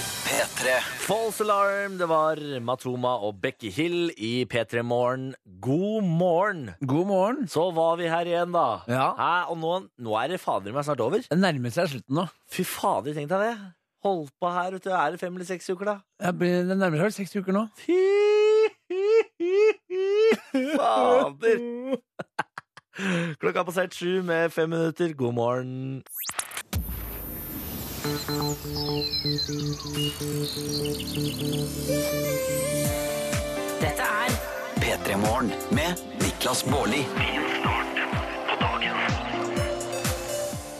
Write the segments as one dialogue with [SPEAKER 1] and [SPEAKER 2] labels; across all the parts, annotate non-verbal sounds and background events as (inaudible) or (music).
[SPEAKER 1] P3.
[SPEAKER 2] False Alarm, det var Matoma og Becky Hill i P3 Morgen. God morgen!
[SPEAKER 3] God morgen.
[SPEAKER 2] Så var vi her igjen, da.
[SPEAKER 3] Ja.
[SPEAKER 2] Hæ? Og nå, nå er det fader meg snart over.
[SPEAKER 3] Det nærmer seg slutten nå.
[SPEAKER 2] Fy fader, tenk deg det. Holdt på her, vet du. Er det fem eller seks uker, da?
[SPEAKER 3] Jeg blir, det nærmer seg vel seks uker nå.
[SPEAKER 2] Fy fader. Klokka har passert sju med fem minutter. God morgen.
[SPEAKER 4] Dette er
[SPEAKER 1] P3 Morgen med Niklas Baarli.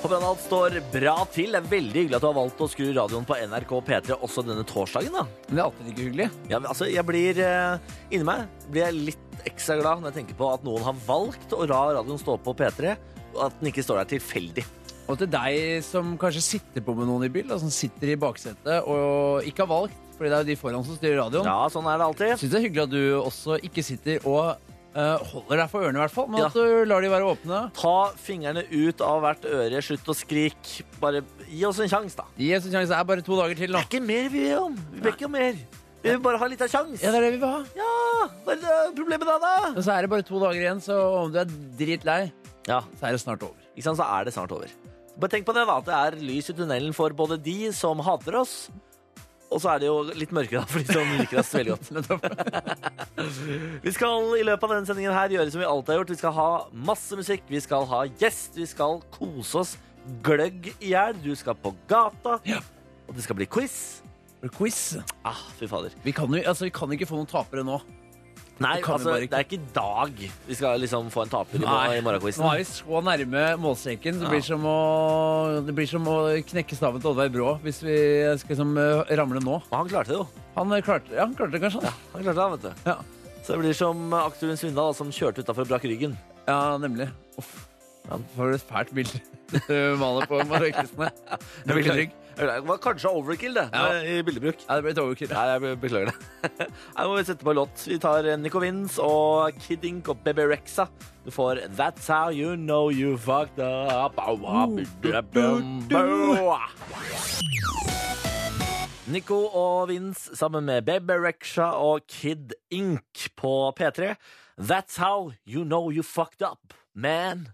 [SPEAKER 2] Håper at alt står bra til. Det er veldig hyggelig at du har valgt å skru radioen på NRK P3 også denne torsdagen. da.
[SPEAKER 3] Men det er alltid like hyggelig.
[SPEAKER 2] Ja, men altså, jeg blir eh, Inni meg blir jeg litt ekstra glad når jeg tenker på at noen har valgt å la radioen stå på P3, og at den ikke står der tilfeldig.
[SPEAKER 3] Og til deg som kanskje sitter på med noen i bil, da, som sitter i baksetet og ikke har valgt, fordi det er jo de foran som styrer radioen.
[SPEAKER 2] Ja, sånn er det alltid.
[SPEAKER 3] Syns det er hyggelig at du også ikke sitter og eh, holder deg for ørene, i hvert fall, men
[SPEAKER 2] Ja.
[SPEAKER 3] at du lar de være åpne.
[SPEAKER 2] Ta fingrene ut av hvert øre, slutt å skrike. Bare gi oss en sjanse, da.
[SPEAKER 3] Gi oss en sjanse. Det er bare to dager til nå.
[SPEAKER 2] Det er ikke mer vi ber om. Vi ber ikke om mer. Vi vil bare ha litt av sjans.
[SPEAKER 3] Ja, det er det vi vil ha.
[SPEAKER 2] Ja, hva er det problemet da, da?
[SPEAKER 3] Men så er det bare to dager igjen, så om du er dritlei,
[SPEAKER 2] Ja,
[SPEAKER 3] så er det snart over.
[SPEAKER 2] ikke sant, så er det snart over. Bare tenk på det, da. At det er lys i tunnelen for både de som hater oss, og så er det jo litt mørkere da, for de som liker oss veldig godt.
[SPEAKER 3] (laughs)
[SPEAKER 2] Vi skal i løpet av denne sendingen her gjøre som vi alltid har gjort. Vi skal ha masse musikk, vi skal ha gjest, vi skal kose oss gløgg i hjel. Du skal på gata,
[SPEAKER 3] Ja.
[SPEAKER 2] og det skal bli quiz.
[SPEAKER 3] Quiz.
[SPEAKER 2] Ah, fy fader.
[SPEAKER 3] Vi kan, jo, altså, vi kan ikke få noen tapere nå.
[SPEAKER 2] Nei,
[SPEAKER 3] Det kan vi
[SPEAKER 2] altså,
[SPEAKER 3] bare ikke.
[SPEAKER 2] det er ikke i dag vi skal liksom få en taper i, mor i morgenquizen.
[SPEAKER 3] Nå er vi så nærme målstreken. så Det, blir som å, det blir som å knekke staven til Oddveig Brå hvis vi skal liksom, eh, ramle nå.
[SPEAKER 2] Og han klarte det jo.
[SPEAKER 3] Han eh, klarte, ja, han klarte det kanskje. Han.
[SPEAKER 2] Han klarte det, vet du.
[SPEAKER 3] Ja.
[SPEAKER 2] Så det blir som aktoren Svindal som kjørte utafor og brakk ryggen.
[SPEAKER 3] Ja. nemlig. Uff. Han får et fælt bilde (laughs) du maler på
[SPEAKER 2] (laughs)
[SPEAKER 3] morgenkvistene. Det blir trygg.
[SPEAKER 2] Det var kanskje overkill, det,
[SPEAKER 3] Ja.
[SPEAKER 2] med- i bildebruk.
[SPEAKER 3] Ja, det blir et overkill.
[SPEAKER 2] Nei, jeg be- beklager det. (laughs) Her må vi sette på låt. Vi tar Nico Vince og Kid Ink og Bebe Rexha. Du får That's How You Know You Fucked Up. Au, au, bu- bu- bu- bu. Nico og Vince sammen med Bebe Rexha og Kid Ink på P3. That's How You Know You Fucked Up, man,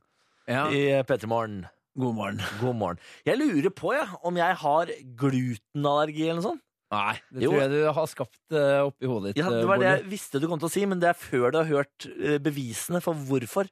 [SPEAKER 3] Ja.
[SPEAKER 2] i P3 Morgen.
[SPEAKER 3] God morgen.
[SPEAKER 2] God morgen. Jeg lurer på ja, om jeg har glutenallergi eller noe sånt.
[SPEAKER 3] Nei, det
[SPEAKER 2] Jo.
[SPEAKER 3] tror jeg du har skapt eh, oppi hodet ditt.
[SPEAKER 2] Ja,
[SPEAKER 3] eh,
[SPEAKER 2] det var det
[SPEAKER 3] Bård.
[SPEAKER 2] jeg visste du kom til å si, men det er før du har hørt eh, bevisene for hvorfor.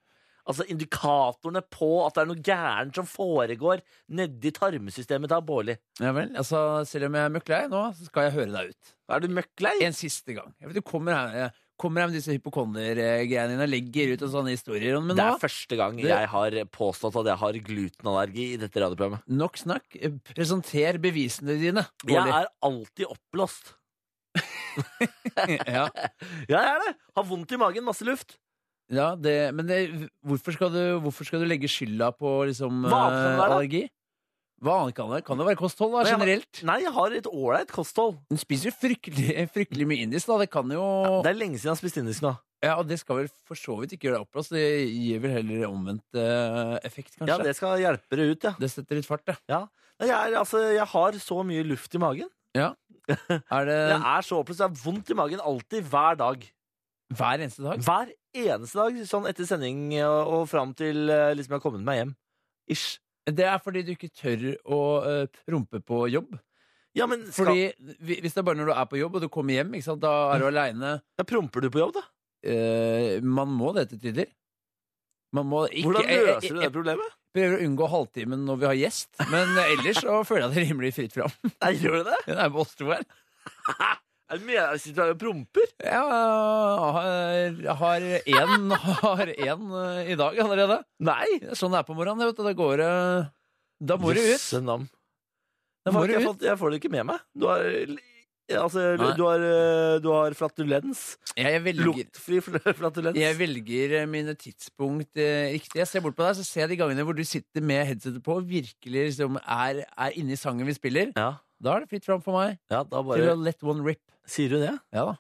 [SPEAKER 2] Altså indikatorene på at det er noe gærent som foregår nedi tarmsystemet til Bårli.
[SPEAKER 3] Ja vel, altså Selv om jeg er møkklei nå, så skal jeg høre deg ut.
[SPEAKER 2] Er du møkk lei?
[SPEAKER 3] En siste gang. Jeg vet, du kommer her, eh, kommer her med disse hypokonder-greiene dine og legger ut og sånne historier. Men
[SPEAKER 2] Det
[SPEAKER 3] nå,
[SPEAKER 2] er første gang
[SPEAKER 3] Det-
[SPEAKER 2] jeg har påstått at jeg har glutenallergi i dette radioprogrammet.
[SPEAKER 3] Nok snakk. Presenter bevisene dine.
[SPEAKER 2] Jeg
[SPEAKER 3] Bårdli.
[SPEAKER 2] er alltid oppblåst.
[SPEAKER 3] (laughs)
[SPEAKER 2] Ja,
[SPEAKER 3] ja.
[SPEAKER 2] jeg er det! Har vondt i magen, masse luft.
[SPEAKER 3] ja, det, men det, hvorfor, skal du, hvorfor skal du legge skylda på liksom,
[SPEAKER 2] Hva annet kan det
[SPEAKER 3] eh,
[SPEAKER 2] være, da?
[SPEAKER 3] allergi? Hva annet kan det være? Kan det være kosthold da,
[SPEAKER 2] Men jeg har-
[SPEAKER 3] generelt?
[SPEAKER 2] Nei, jeg har et ålreit kosthold.
[SPEAKER 3] Du spiser jo fryktelig, fryktelig mye indisk, da. Det kan jo
[SPEAKER 2] Det er lenge siden jeg har spist indisk nå.
[SPEAKER 3] Ja, og det skal vel for så vidt ikke gjøre deg oppblåst. Det gir vel heller omvendt eh, effekt, kanskje.
[SPEAKER 2] Ja, det skal hjelpe det ut, ja.
[SPEAKER 3] Det setter litt fart, det.
[SPEAKER 2] Nei, Jeg, er, altså, jeg har så mye luft i magen.
[SPEAKER 3] Er det
[SPEAKER 2] Jeg er så oppblåst. Jeg har vondt i magen alltid, hver dag.
[SPEAKER 3] hver eneste dag?
[SPEAKER 2] Hver eneste dag sånn etter sending og, og fram til eh, liksom jeg har kommet meg hjem. Ish.
[SPEAKER 3] Det er fordi du ikke tør å eh, prompe på jobb.
[SPEAKER 2] Ja, men skal,
[SPEAKER 3] Fordi hvi- Hvis det er bare når du er på jobb, og du kommer hjem, ikke sant? da
[SPEAKER 2] Mm.
[SPEAKER 3] er du aleine. Eh,
[SPEAKER 2] ja, promper du på jobb, da?
[SPEAKER 3] man må det til tider. Man må ikke
[SPEAKER 2] Hvordan
[SPEAKER 3] jeg- jeg-
[SPEAKER 2] løser du det problemet?
[SPEAKER 3] Jeg prøver å unngå halvtimen når vi har gjest, men eh, ellers så føler jeg det er rimelig fritt fram. (laughs)
[SPEAKER 2] Nei, gjør du det?
[SPEAKER 3] Det er med oss to her.
[SPEAKER 2] Jeg mener, jeg sitter her og promper.
[SPEAKER 3] Jeg har én har en eh, i dag allerede.
[SPEAKER 2] Nei!
[SPEAKER 3] Det er sånn det er på morgenen. Vet du. Da går det Da må du ut.
[SPEAKER 2] Jøsse nam.
[SPEAKER 3] Da må
[SPEAKER 2] Fuck,
[SPEAKER 3] du
[SPEAKER 2] jeg,
[SPEAKER 3] ut.
[SPEAKER 2] fått, jeg får det ikke med meg. Du har ja, Altså,
[SPEAKER 3] Nei.
[SPEAKER 2] du har, eh, du har flatulens.
[SPEAKER 3] Jeg velger,
[SPEAKER 2] Luktfri fl- (laughs) flatulens.
[SPEAKER 3] jeg velger eh, mine tidspunkt eh, riktig. Jeg ser bort på deg, så ser jeg de gangene hvor du sitter med headsetet på og virkelig liksom er, er inne i sangen vi spiller.
[SPEAKER 2] Ja,
[SPEAKER 3] Da er det fritt fram for meg
[SPEAKER 2] ja, da
[SPEAKER 3] til
[SPEAKER 2] bare
[SPEAKER 3] å let one rip.
[SPEAKER 2] Sier du det?
[SPEAKER 3] Ja da.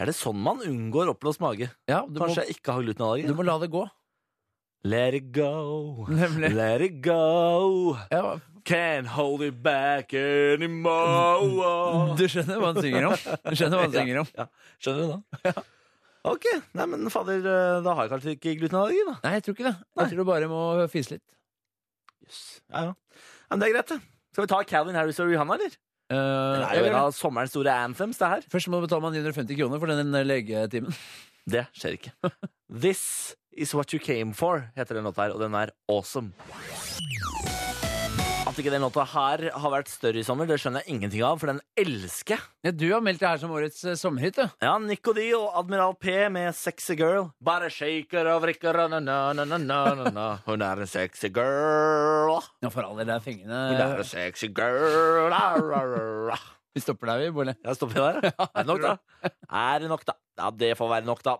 [SPEAKER 2] Er det sånn man unngår oppblåst mage?
[SPEAKER 3] Ja, du, må,
[SPEAKER 2] Kanskje jeg ikke har
[SPEAKER 3] du
[SPEAKER 2] glutenallergi?
[SPEAKER 3] må la det gå. (laughs)
[SPEAKER 2] Let it go,
[SPEAKER 3] Nemlig.
[SPEAKER 2] let it go.
[SPEAKER 3] Ja,
[SPEAKER 2] Can't hold it back anymore.
[SPEAKER 3] du skjønner hva han synger om. Du skjønner hva han synger om.
[SPEAKER 2] (laughs) Ja, skjønner du da? Ok, nei, men fader, eh, da har jeg kanskje ikke glutenallergi, da.
[SPEAKER 3] Nei, jeg tror ikke det. Jeg tror du bare må fise litt.
[SPEAKER 2] Ja, ja. Ja, Men det er greit, det. Skal vi ta Calvin Harris og Rihanna, eller?
[SPEAKER 3] Eh,
[SPEAKER 2] Det
[SPEAKER 3] jeg
[SPEAKER 2] er jo
[SPEAKER 3] gjør
[SPEAKER 2] en
[SPEAKER 3] det.
[SPEAKER 2] av sommerens store anthems, det her.
[SPEAKER 3] Først må du betale meg 950 kroner for den eh, legetimen.
[SPEAKER 2] (laughs) Det skjer (laughs) ikke. This is what you came for, heter den låta her, og den er awesome. At ikke den låta her har vært større i sommer, det skjønner jeg ingenting av, for den elsker jeg.
[SPEAKER 3] Ja, du har meldt deg her som årets eh, sommerhit, du.
[SPEAKER 2] Ja, Nico D og Admiral P med Sexy Girl. Bare shaker og vrikker og na-na-na-na-na-na. Hun er en sexy girl.
[SPEAKER 3] Ja, for all del,
[SPEAKER 2] Hun
[SPEAKER 3] det er
[SPEAKER 2] er
[SPEAKER 3] fengende.
[SPEAKER 2] en sexy girl. Ra, ra, ra, ra.
[SPEAKER 3] Vi stopper der, vi, Bolle.
[SPEAKER 2] Jeg stopper der. (laughs) ja. Er det nok, da? Er det nok, da? Ja, det får være nok, da.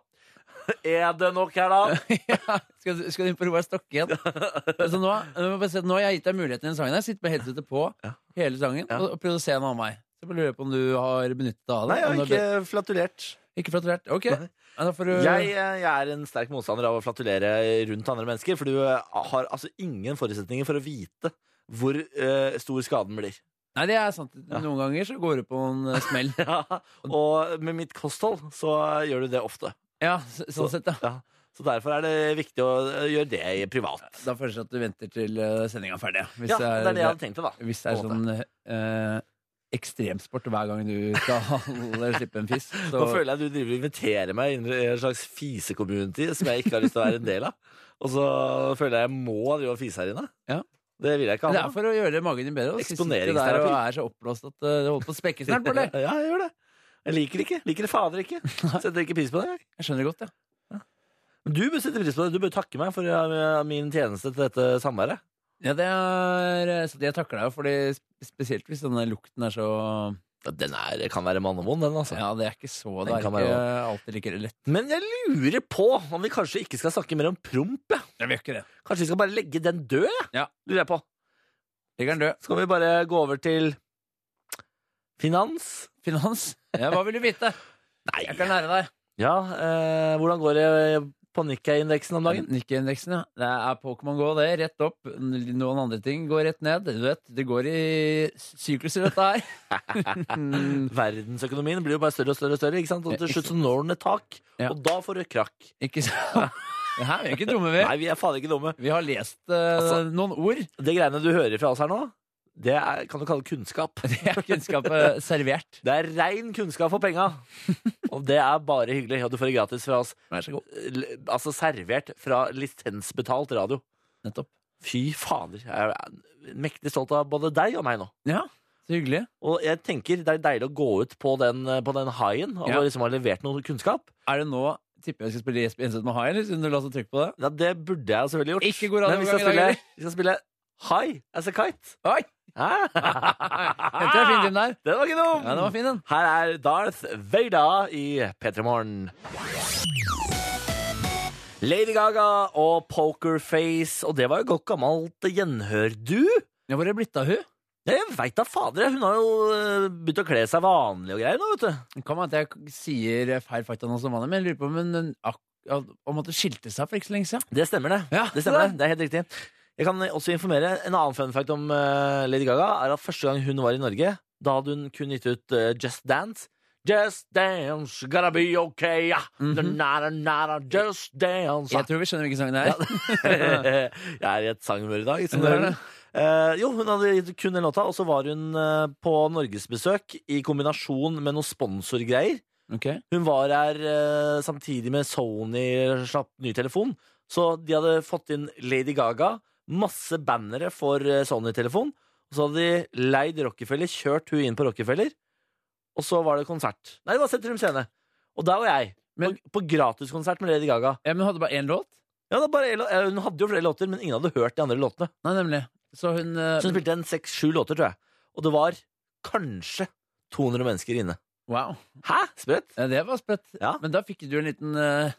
[SPEAKER 2] Er det nok her, da?
[SPEAKER 3] (laughs) Ja, skal, du- skal du inn på Roar Stokke igjen? Så nå, jeg må bare si at nå har jeg gitt deg muligheten i den sangen. her. Sitt med headsetet på hele sangen
[SPEAKER 2] Ja.
[SPEAKER 3] og, og prøv å se en annen vei. Så bare lurer jeg på om du har benyttet deg av det.
[SPEAKER 2] Nei, jeg har
[SPEAKER 3] Om du har
[SPEAKER 2] ikke flatulert.
[SPEAKER 3] be- ikke flatulert? Ok. Ja, da får du
[SPEAKER 2] Jeg, jeg er en sterk motstander av å flatulere rundt andre mennesker, for du har altså ingen forutsetninger for å vite hvor eh, stor skaden blir.
[SPEAKER 3] Nei, det er sant. Noen ganger så går du på en eh,
[SPEAKER 2] (laughs)
[SPEAKER 3] smell.
[SPEAKER 2] Ja, og med mitt kosthold så gjør du det ofte.
[SPEAKER 3] Ja, så, sånn sett, da.
[SPEAKER 2] Ja. Så derfor er det viktig å eh, gjøre det i privat.
[SPEAKER 3] Da føles det at du venter til eh, sendinga er ferdig. Hvis
[SPEAKER 2] Ja, det er det jeg hadde tenkt til, da.
[SPEAKER 3] Hvis det er
[SPEAKER 2] på en
[SPEAKER 3] sånn eh, ekstremsport hver gang du skal (laughs) slippe en fiss, så
[SPEAKER 2] Nå føler jeg du driver og inviterer meg inn i en slags fise-community som jeg ikke har lyst til å være en del av. Og så føler jeg jeg må drive og fise her inne.
[SPEAKER 3] Ja.
[SPEAKER 2] Det vil jeg ikke
[SPEAKER 3] Men Det
[SPEAKER 2] ha.
[SPEAKER 3] er for å gjøre magen din bedre. da. Så sitter du der
[SPEAKER 2] Eksponeringsterapi.
[SPEAKER 3] og er så oppblåst at eh, det holder på å spekke snart.
[SPEAKER 2] (laughs) Ja,
[SPEAKER 3] Bolle.
[SPEAKER 2] jeg gjør det. Jeg liker det ikke. Liker det fader ikke. Setter ikke pris på det. jeg.
[SPEAKER 3] (laughs) Jeg skjønner det godt, ja.
[SPEAKER 2] Men du bør sette pris på det. Du bør takke meg for eh, min tjeneste til dette samværet.
[SPEAKER 3] ja det er, eh, så jeg takler deg jo, fordi sp- spesielt hvis denne lukten er så
[SPEAKER 2] Ja, Den er, kan være mannevond, den, altså.
[SPEAKER 3] Ja, det er ikke så
[SPEAKER 2] Den
[SPEAKER 3] Det er
[SPEAKER 2] kan
[SPEAKER 3] ikke
[SPEAKER 2] være
[SPEAKER 3] alltid like lett.
[SPEAKER 2] Men jeg lurer på om vi kanskje ikke skal snakke mer om promp. jeg.
[SPEAKER 3] Jeg gjør ikke det.
[SPEAKER 2] Kanskje vi skal bare legge den død? jeg?
[SPEAKER 3] Ja.
[SPEAKER 2] Lurer jeg på.
[SPEAKER 3] Ligger den død?
[SPEAKER 2] Skal vi bare gå over til finans?
[SPEAKER 3] Finans? Ja, hva vil du vite?
[SPEAKER 2] Nei.
[SPEAKER 3] Jeg kan lære deg.
[SPEAKER 2] Ja, eh, hvordan går det på Nikkei-indeksen om dagen?
[SPEAKER 3] Nikkei-indeksen, ja. Det er Pokémon Go, det. Rett opp. Noen andre ting går rett ned. Du vet, det går i sykluser, dette her. (laughs)
[SPEAKER 2] Verdensøkonomien blir jo bare større og større, og større, ikke sant? og til slutt så når den et tak,
[SPEAKER 3] Ja.
[SPEAKER 2] og da får du krakk.
[SPEAKER 3] Ikke sant? Det her, vi er ikke dumme, vi.
[SPEAKER 2] Nei, vi er faen ikke dumme.
[SPEAKER 3] Vi har lest eh,
[SPEAKER 2] Altså-
[SPEAKER 3] noen ord.
[SPEAKER 2] Det greiene du hører fra oss her nå, det er, kan du kalle kunnskap.
[SPEAKER 3] (laughs) Det er kunnskap (laughs) eh, servert.
[SPEAKER 2] Det er rein kunnskap for penga.
[SPEAKER 3] (laughs)
[SPEAKER 2] Og det er bare hyggelig. Og du får det gratis fra oss.
[SPEAKER 3] Vær så god.
[SPEAKER 2] L- Altså servert fra lisensbetalt radio.
[SPEAKER 3] Nettopp.
[SPEAKER 2] Fy fader. Jeg er mektig stolt av både deg og meg nå.
[SPEAKER 3] Ja, så hyggelig.
[SPEAKER 2] Og jeg tenker det er deilig å gå ut på den, på den haien og
[SPEAKER 3] Ja.
[SPEAKER 2] liksom ha levert noe kunnskap.
[SPEAKER 3] Er det nå tipper jeg skal spille Jesper Enseth med Hai, eller siden du la så trykk på det?
[SPEAKER 2] Ja, det burde jeg jo selvfølgelig gjort.
[SPEAKER 3] Ikke god
[SPEAKER 2] Men vi skal
[SPEAKER 3] radioomgang i
[SPEAKER 2] spille,
[SPEAKER 3] dag,
[SPEAKER 2] vi skal spille High as a
[SPEAKER 3] (laughs)
[SPEAKER 2] Kite.
[SPEAKER 3] Oi! Ah! Henter jeg fin
[SPEAKER 2] Hæ?
[SPEAKER 3] den der?
[SPEAKER 2] Den var ikke dum!
[SPEAKER 3] Ja, den var fin, den.
[SPEAKER 2] Her er Darth Vader i P3 Morgen. Lady Gaga og Pokerface, og det var jo godt gammelt gjenhør, du.
[SPEAKER 3] Ja, hvor er det blitt av hun?
[SPEAKER 2] Ja, Jeg veit da fader, hun har jo eh, begynt å kle seg vanlig og greier nå, vet du.
[SPEAKER 3] Det kan være at jeg sier eh, feil fakta nå som vanlig, men jeg lurer på om hun ak- om at hun skilte seg for ikke så lenge siden.
[SPEAKER 2] Det stemmer, det.
[SPEAKER 3] Ja,
[SPEAKER 2] Det stemmer, det. det er helt riktig. Jeg kan også informere En annen fun fact om eh, Lady Gaga er at første gang hun var i Norge, da hadde hun kun gitt ut eh, Just Dance. Just dance, gotta be okay, yeah.
[SPEAKER 3] Mhm.
[SPEAKER 2] na, na, na, na, just dance.
[SPEAKER 3] Jeg tror vi skjønner hvilken sang det er.
[SPEAKER 2] jeg er i et sanghumør i dag. Som du
[SPEAKER 3] Ja, det er
[SPEAKER 2] hører.
[SPEAKER 3] det.
[SPEAKER 2] Eh, jo, hun hadde gitt kun den låta, og så var hun eh, på norgesbesøk i kombinasjon med noen sponsorgreier.
[SPEAKER 3] Ok.
[SPEAKER 2] Hun var her eh, samtidig med Sony slapp ny telefon. Så de hadde fått inn Lady Gaga, masse bannere for eh, Sony-telefon. Og så hadde de leid Rockefeller, kjørt hun inn på Rockefeller. Og så var det konsert. Nei, det var Sentrum Scene. Og der var jeg.
[SPEAKER 3] Men-
[SPEAKER 2] på, på gratiskonsert med Lady Gaga.
[SPEAKER 3] Ja, men hun hadde bare én låt?
[SPEAKER 2] Ja, det var bare, en lå- eh, hun hadde jo flere låter, men ingen hadde hørt de andre låtene.
[SPEAKER 3] Nei, nemlig. Så hun eh,
[SPEAKER 2] Så hun spilte en seks-sju låter, tror jeg. Og det var kanskje 200 mennesker inne.
[SPEAKER 3] Wow.
[SPEAKER 2] Hæ? Sprøtt?
[SPEAKER 3] Ja, det var sprøtt.
[SPEAKER 2] Ja.
[SPEAKER 3] Men da fikk du en liten eh,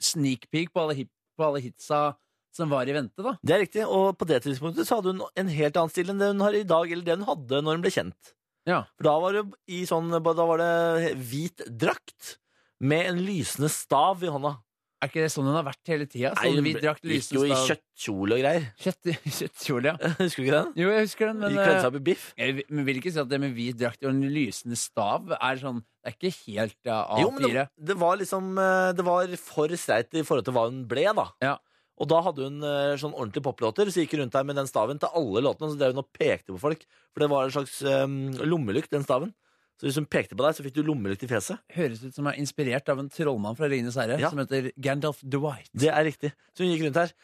[SPEAKER 3] sneak peek på alle, hip, på alle hitsa som var i vente, da.
[SPEAKER 2] Det er riktig, og på det tidspunktet så hadde hun en helt annen stil enn det hun har i dag, eller det hun hadde når hun ble kjent.
[SPEAKER 3] Ja.
[SPEAKER 2] For da var det, i sånn, da var det hvit drakt med en lysende stav i hånda.
[SPEAKER 3] Er ikke det sånn hun har vært hele tida? Sånn
[SPEAKER 2] Nei,
[SPEAKER 3] vi
[SPEAKER 2] hun
[SPEAKER 3] drakk
[SPEAKER 2] gikk jo i
[SPEAKER 3] lysestav
[SPEAKER 2] kjøttkjole og
[SPEAKER 3] (laughs)
[SPEAKER 2] greier.
[SPEAKER 3] Kjøtt, kjøttkjole, ja.
[SPEAKER 2] Husker du ikke den?
[SPEAKER 3] Jo, jeg husker den, men
[SPEAKER 2] Gikk kledd seg
[SPEAKER 3] eh,
[SPEAKER 2] opp i biff.
[SPEAKER 3] jeg vil- men vil ikke si at det med hvit drakt og en lysende stav er sånn Det er ikke helt eh,
[SPEAKER 2] Jo, men
[SPEAKER 3] A4.
[SPEAKER 2] det, det var liksom eh, Det var for streit i forhold til hva hun ble, da.
[SPEAKER 3] Ja.
[SPEAKER 2] Og da hadde hun eh, sånn ordentlig poplåter, så gikk hun rundt der med den staven til alle låtene. Så drev hun og pekte på folk, for det var en slags eh, lommelykt, den staven. Så hvis hun pekte på deg, så fikk du lommelykt i fjeset.
[SPEAKER 3] Høres ut som er inspirert av en trollmann fra Ringenes herre
[SPEAKER 2] Ja.
[SPEAKER 3] som heter Gandalf the White.
[SPEAKER 2] Det er riktig. Så hun gikk rundt her.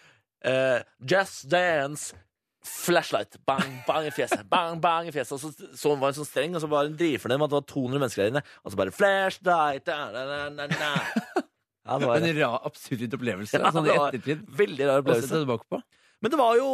[SPEAKER 2] eh, just dance. Flashlight. Bang, bang i fjeset. Bang, bang i fjeset. Og så, så hun var hun sånn streng, og så var hun drivfornøyd med at det var 200 mennesker der inne. Og så bare flashlight. Da, da, da, da, da. Ja, det var
[SPEAKER 3] En ra, absurd opplevelse
[SPEAKER 2] Ja,
[SPEAKER 3] sånn i
[SPEAKER 2] det var-
[SPEAKER 3] ettertid.
[SPEAKER 2] Veldig rar
[SPEAKER 3] Å sette
[SPEAKER 2] opplevelse.
[SPEAKER 3] tilbake på.
[SPEAKER 2] Men det var jo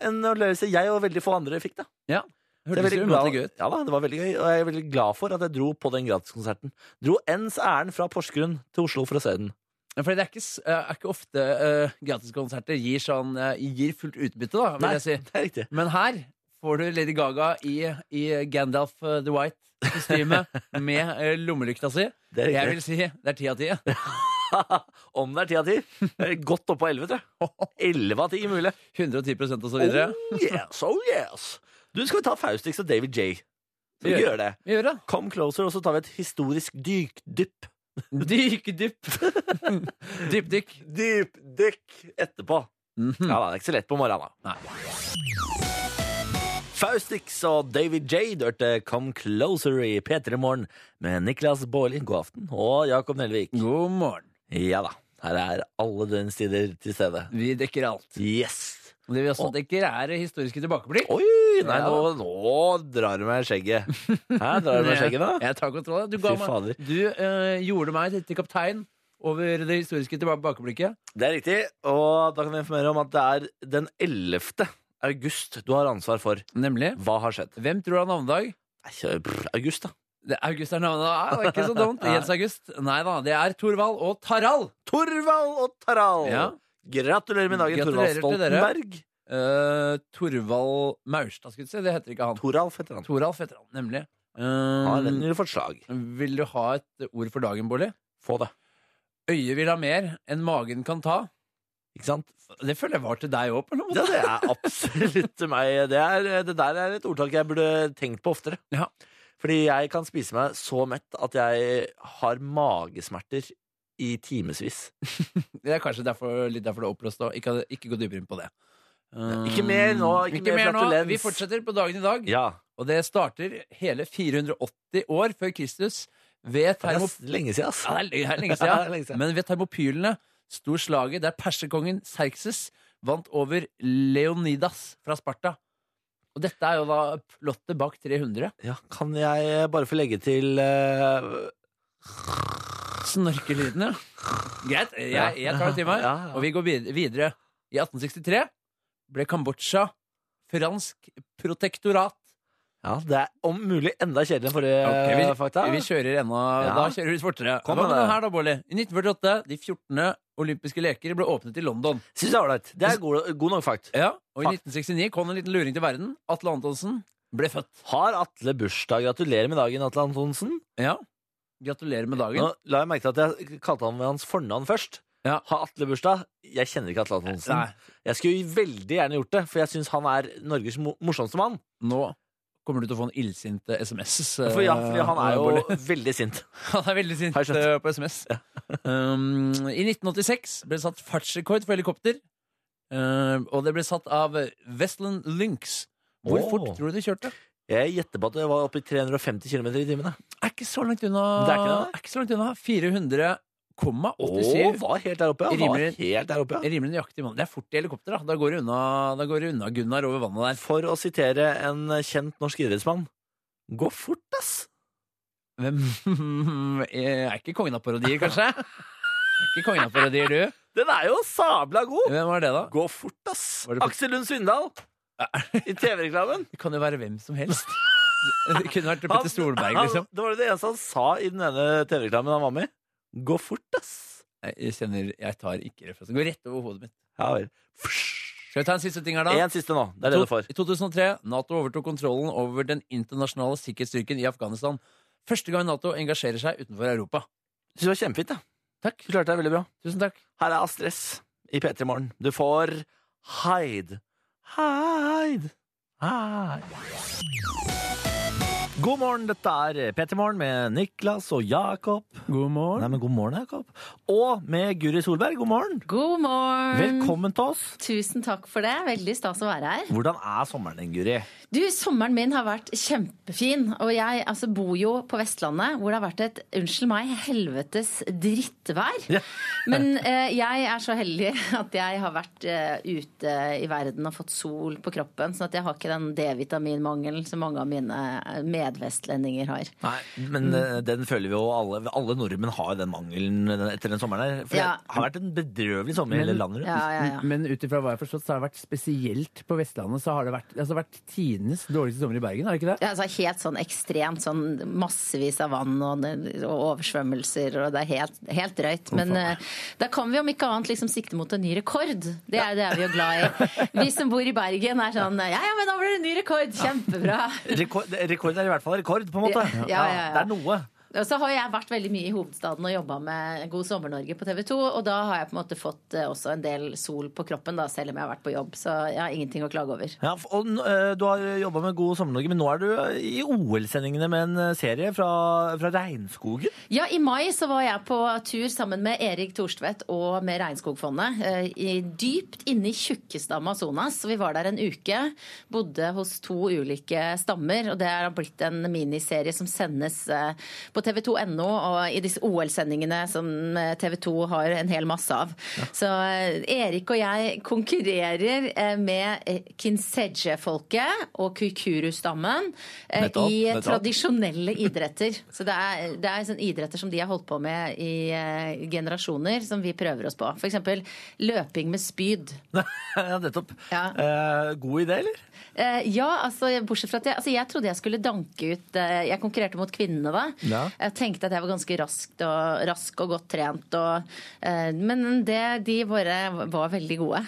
[SPEAKER 2] en opplevelse jeg og veldig få andre fikk, da.
[SPEAKER 3] Ja.
[SPEAKER 2] Så jeg er
[SPEAKER 3] Hørtes
[SPEAKER 2] veldig
[SPEAKER 3] jo
[SPEAKER 2] glad-
[SPEAKER 3] umåtelig gøy ut.
[SPEAKER 2] Ja da, det var veldig gøy, og jeg er veldig glad for at jeg dro på den gratiskonserten. Dro ens ærend fra Porsgrunn til Oslo for å se den.
[SPEAKER 3] Ja, Fordi det er ikke, s- eh, er ikke ofte eh, gratiskonserter gir, sånn, eh, gir fullt utbytte, da, vil
[SPEAKER 2] Nei,
[SPEAKER 3] jeg si.
[SPEAKER 2] (laughs) det er riktig.
[SPEAKER 3] Men her får du Lady Gaga i, i Gandalf eh, the
[SPEAKER 2] (laughs)
[SPEAKER 3] White-kostyme med eh, lommelykta si.
[SPEAKER 2] Det er
[SPEAKER 3] Jeg
[SPEAKER 2] riktig.
[SPEAKER 3] vil si det er ti
[SPEAKER 2] (laughs)
[SPEAKER 3] av ti. ja.
[SPEAKER 2] Om det er ti av ti. eh, Godt oppå elleve, tror jeg. Elleve av ti mulig.
[SPEAKER 3] 110 og så videre.
[SPEAKER 2] Oh yes, oh yes. Du, skal vi ta Faustix og David J? Skal vi
[SPEAKER 3] Gjør.
[SPEAKER 2] gjøre det?
[SPEAKER 3] Vi gjør det.
[SPEAKER 2] Come closer, og så tar vi et historisk dykdypp.
[SPEAKER 3] Dyk,
[SPEAKER 2] (laughs)
[SPEAKER 3] dypp. dypp, dykk.
[SPEAKER 2] Dypdykk etterpå.
[SPEAKER 3] Mhm.
[SPEAKER 2] Ja da, det er ikke så lett på morgenen da Faustix og David J dørte Come Closer i P3 Morgen med Niklas Baarli, god aften, og Jakob Nelvik.
[SPEAKER 3] God morgen.
[SPEAKER 2] Ja da, her er alle døgnets tider til stede.
[SPEAKER 3] Vi dekker alt.
[SPEAKER 2] Yes!
[SPEAKER 3] Og Det vi også dekker, er historiske tilbakeblikk.
[SPEAKER 2] Oi, nei, nå, nå drar du meg i skjegget. Hæ, drar (laughs) du meg i skjegget da?
[SPEAKER 3] Jeg tar kontroll. Du,
[SPEAKER 2] Fy
[SPEAKER 3] ga meg,
[SPEAKER 2] fader.
[SPEAKER 3] du eh, gjorde meg til kaptein over det historiske tilbakeblikket.
[SPEAKER 2] Det er riktig, og da kan vi informere om at det er den 11. august du har ansvar for.
[SPEAKER 3] Nemlig.
[SPEAKER 2] Hva har skjedd?
[SPEAKER 3] Hvem tror du har navnedag?
[SPEAKER 2] Nei, kjør- brr, August da.
[SPEAKER 3] Det er August er navnet. Ah, ikke
[SPEAKER 2] (laughs)
[SPEAKER 3] så dumt. Jens August. Nei da, det er Torvald og Tarald.
[SPEAKER 2] Torvald og Tarald!
[SPEAKER 3] Ja.
[SPEAKER 2] Gratulerer med dagen, Torvald
[SPEAKER 3] Gratulerer til dere.
[SPEAKER 2] Stoltenberg.
[SPEAKER 3] Eh, Torvald Maurstad, skulle jeg si. Det heter ikke han.
[SPEAKER 2] Toralf heter han.
[SPEAKER 3] Toralf heter han, nemlig.
[SPEAKER 2] Har en
[SPEAKER 3] Eh,
[SPEAKER 2] lille forslag.
[SPEAKER 3] vil du ha et ord for dagen, Bolli?
[SPEAKER 2] Få det.
[SPEAKER 3] Øyet vil ha mer enn magen kan ta.
[SPEAKER 2] Ikke sant?
[SPEAKER 3] Det føler jeg var til deg òg, på noen måte.
[SPEAKER 2] (laughs) Ja, det er absolutt til meg. Det, er, det der er et ordtak jeg burde tenkt på oftere.
[SPEAKER 3] Ja.
[SPEAKER 2] Fordi jeg kan spise meg så mett at jeg har magesmerter i timevis.
[SPEAKER 3] Det er kanskje derfor, litt derfor det er oppløst òg. Ikke, ikke gå dypere inn på det. Eh,
[SPEAKER 2] Ikke mer nå, ikke mer flatulens.
[SPEAKER 3] Vi fortsetter på dagen i dag,
[SPEAKER 2] Ja.
[SPEAKER 3] og det starter hele 480 år før Kristus ved
[SPEAKER 2] Det er
[SPEAKER 3] Termop...
[SPEAKER 2] s- lenge siden, ass.
[SPEAKER 3] Ja, det er l- det er lenge
[SPEAKER 2] (laughs) Ja, det er lenge
[SPEAKER 3] siden.
[SPEAKER 2] siden.
[SPEAKER 3] Men ved Termopylene sto slaget der persekongen Serkses vant over Leonidas fra Sparta. Og dette er jo da plottet bak 300.
[SPEAKER 2] Ja, kan jeg bare få legge til eh,
[SPEAKER 3] Snorkelydene. Greit,
[SPEAKER 2] Ja.
[SPEAKER 3] jeg, jeg tar det til meg.
[SPEAKER 2] Ja, ja.
[SPEAKER 3] Og vi går vid- videre. I 1863 ble Kambodsja fransk protektorat.
[SPEAKER 2] Ja, det er om mulig enda kjedeligere enn forrige
[SPEAKER 3] Ok,
[SPEAKER 2] eh, fakta.
[SPEAKER 3] Vi kjører ennå
[SPEAKER 2] Ja.
[SPEAKER 3] Da kjører vi litt fortere.
[SPEAKER 2] Kom
[SPEAKER 3] Hva
[SPEAKER 2] med
[SPEAKER 3] med den
[SPEAKER 2] det.
[SPEAKER 3] her, da, Bolli? I 1948, de 14. olympiske leker ble åpnet i London.
[SPEAKER 2] Syns jeg er ålreit. Det er god, god nok fakt.
[SPEAKER 3] Ja, og i
[SPEAKER 2] Fakt.
[SPEAKER 3] 1969 kom en liten luring til verden. Atle Antonsen ble født.
[SPEAKER 2] Har Atle bursdag? Gratulerer med dagen, Atle Antonsen.
[SPEAKER 3] Ja. Gratulerer med
[SPEAKER 2] Nå
[SPEAKER 3] dagen.
[SPEAKER 2] la jeg merke til at jeg kalte han med hans fornavn først.
[SPEAKER 3] Ja.
[SPEAKER 2] Har Atle bursdag? Jeg kjenner ikke Atle Antonsen.
[SPEAKER 3] Nei,
[SPEAKER 2] Jeg skulle veldig gjerne gjort det, for jeg syns han er Norges mo morsomste mann.
[SPEAKER 3] nå kommer du til å få en illsinte SMS.
[SPEAKER 2] For, ja, fordi han er
[SPEAKER 3] Bolli.
[SPEAKER 2] jo veldig sint.
[SPEAKER 3] eh, (laughs) Han er veldig sint
[SPEAKER 2] Har jeg skjønt.
[SPEAKER 3] eh, på SMS. um, I 1986 ble det satt fartsrekord for helikopter. eh, og det ble satt av Westland Lynx. Hvor
[SPEAKER 2] Åh.
[SPEAKER 3] fort tror du det kjørte?
[SPEAKER 2] Jeg gjetter på at det var oppe i 350 km i timen. jeg.
[SPEAKER 3] Er ikke så langt unna.
[SPEAKER 2] Det er ikke det,
[SPEAKER 3] er ikke så langt unna. 400,87.
[SPEAKER 2] Å, var helt der oppe, ja. Var
[SPEAKER 3] Rimer-
[SPEAKER 2] helt der oppe, ja.
[SPEAKER 3] Rimelig nøyaktig. mann. Det er fort i helikopter, da. Da går det unna, da går det unna Gunnar over vannet der.
[SPEAKER 2] For å sitere en kjent norsk idrettsmann Gå fort, ass!
[SPEAKER 3] (laughs) Hvem Jeg Eh, er ikke kongen av parodier, kanskje? ikke kongen av parodier, du.
[SPEAKER 2] Den er jo sabla god!
[SPEAKER 3] Hvem var det, da?
[SPEAKER 2] Gå fort, ass!
[SPEAKER 3] Var det fort?
[SPEAKER 2] Aksel Lund Svindal! I TV-reklamen.
[SPEAKER 3] Det kan jo være hvem som helst. Det kunne vært Petter Solberg, liksom.
[SPEAKER 2] han, det var det eneste han sa i den ene TV-reklamen han var med i. Gå fort, ass!
[SPEAKER 3] Nei, Jeg kjenner, jeg tar ikke referansen. Går rett over hodet mitt.
[SPEAKER 2] Ja vel.
[SPEAKER 3] Skal vi ta en siste ting her, da?
[SPEAKER 2] En siste nå. Det er det du får.
[SPEAKER 3] I 2003 Nato overtok kontrollen over den internasjonale sikkerhetsstyrken i Afghanistan. Første gang Nato engasjerer seg utenfor Europa.
[SPEAKER 2] Syns det var kjempefint, da.
[SPEAKER 3] Takk.
[SPEAKER 2] Du klarte deg veldig bra.
[SPEAKER 3] Tusen takk.
[SPEAKER 2] Her er Astrid S i P3 Morgen. Du får Hyde. Hyde. Hyde. God morgen, dette er P3 Morgen med Niklas og Jakob.
[SPEAKER 3] God
[SPEAKER 2] Nei,
[SPEAKER 3] morgen.
[SPEAKER 2] men god morgen, Jakob. Og med Guri Solberg. God morgen.
[SPEAKER 4] God morgen.
[SPEAKER 2] Velkommen til oss.
[SPEAKER 4] Tusen takk for det. Veldig stas å være her.
[SPEAKER 2] Hvordan er sommeren din, Guri?
[SPEAKER 4] Du, Sommeren min har vært kjempefin. Og jeg altså, bor jo på Vestlandet, hvor det har vært et unnskyld meg, helvetes drittvær.
[SPEAKER 2] Ja.
[SPEAKER 4] Men eh, jeg er så heldig at jeg har vært eh, ute i verden og fått sol på kroppen. Sånn at jeg har ikke den D-vitaminmangelen som mange av mine eh, medvestlendinger har.
[SPEAKER 2] Nei, men
[SPEAKER 4] Mm.
[SPEAKER 2] eh, den føler vi jo alle. Alle nordmenn har jo den mangelen den- etter den sommeren her. For
[SPEAKER 4] Ja.
[SPEAKER 2] det har vært en bedrøvelig sommer i hele landet rundt.
[SPEAKER 4] Ja, ja, ja.
[SPEAKER 3] Men ut ifra hva jeg har forstått, så har det vært spesielt på Vestlandet så har det vært, altså, vært tidenes dårligste sommer i Bergen, har det ikke det?
[SPEAKER 4] Ja, altså helt sånn ekstremt, sånn massevis av vann og, og oversvømmelser, og det er helt, helt drøyt. Men eh, da kan vi om ikke annet liksom sikte mot en ny rekord. Det er, det er vi jo glad i. Vi som bor i Bergen er sånn ja ja, men da blir det ny rekord! Kjempebra!
[SPEAKER 2] Rekord, rekord er i hvert fall rekord, på en måte.
[SPEAKER 4] Ja, ja, ja, ja.
[SPEAKER 2] Det er noe.
[SPEAKER 4] Og så har jo jeg vært veldig mye i hovedstaden og jobba med God sommer-Norge på TV 2, og da har jeg på en måte fått eh, også en del sol på kroppen, da, selv om jeg har vært på jobb. Så jeg har ingenting å klage over.
[SPEAKER 2] Ja, f- og n- eh, Du har jobba med God sommer-Norge, men nå er du eh, i OL-sendingene med en eh, serie fra, fra regnskogen. (laughs)
[SPEAKER 4] Ja, I mai så var jeg på tur sammen med Erik Thorstvedt og med Regnskogfondet. eh, i- Dypt inne i tjukkeste Amazonas. Så Vi var der en uke. Bodde hos to ulike stammer. Og det har blitt en miniserie som sendes eh, på tv2.no og i disse OL-sendingene som TV2 har en hel masse av. Så eh, Erik og jeg konkurrerer eh, med eh, Kinseje-folket og Kukuru-stammen eh,
[SPEAKER 2] Nettopp,
[SPEAKER 4] i
[SPEAKER 2] nettopp.
[SPEAKER 4] tradisjon tradisjonelle idretter. Så det er, det er sånn idretter som de har holdt på med i eh, generasjoner, som vi prøver oss på. F.eks. løping med spyd.
[SPEAKER 2] Ja, Nettopp.
[SPEAKER 4] Ja.
[SPEAKER 2] Eh, god idé, eller?
[SPEAKER 4] Eh, ja, altså, bortsett fra at jeg, altså, jeg trodde jeg skulle danke ut eh, Jeg konkurrerte mot kvinnene da.
[SPEAKER 2] Ja.
[SPEAKER 4] Jeg tenkte at jeg var ganske raskt og, rask og godt trent. Og, eh, men det, de bare var veldig gode.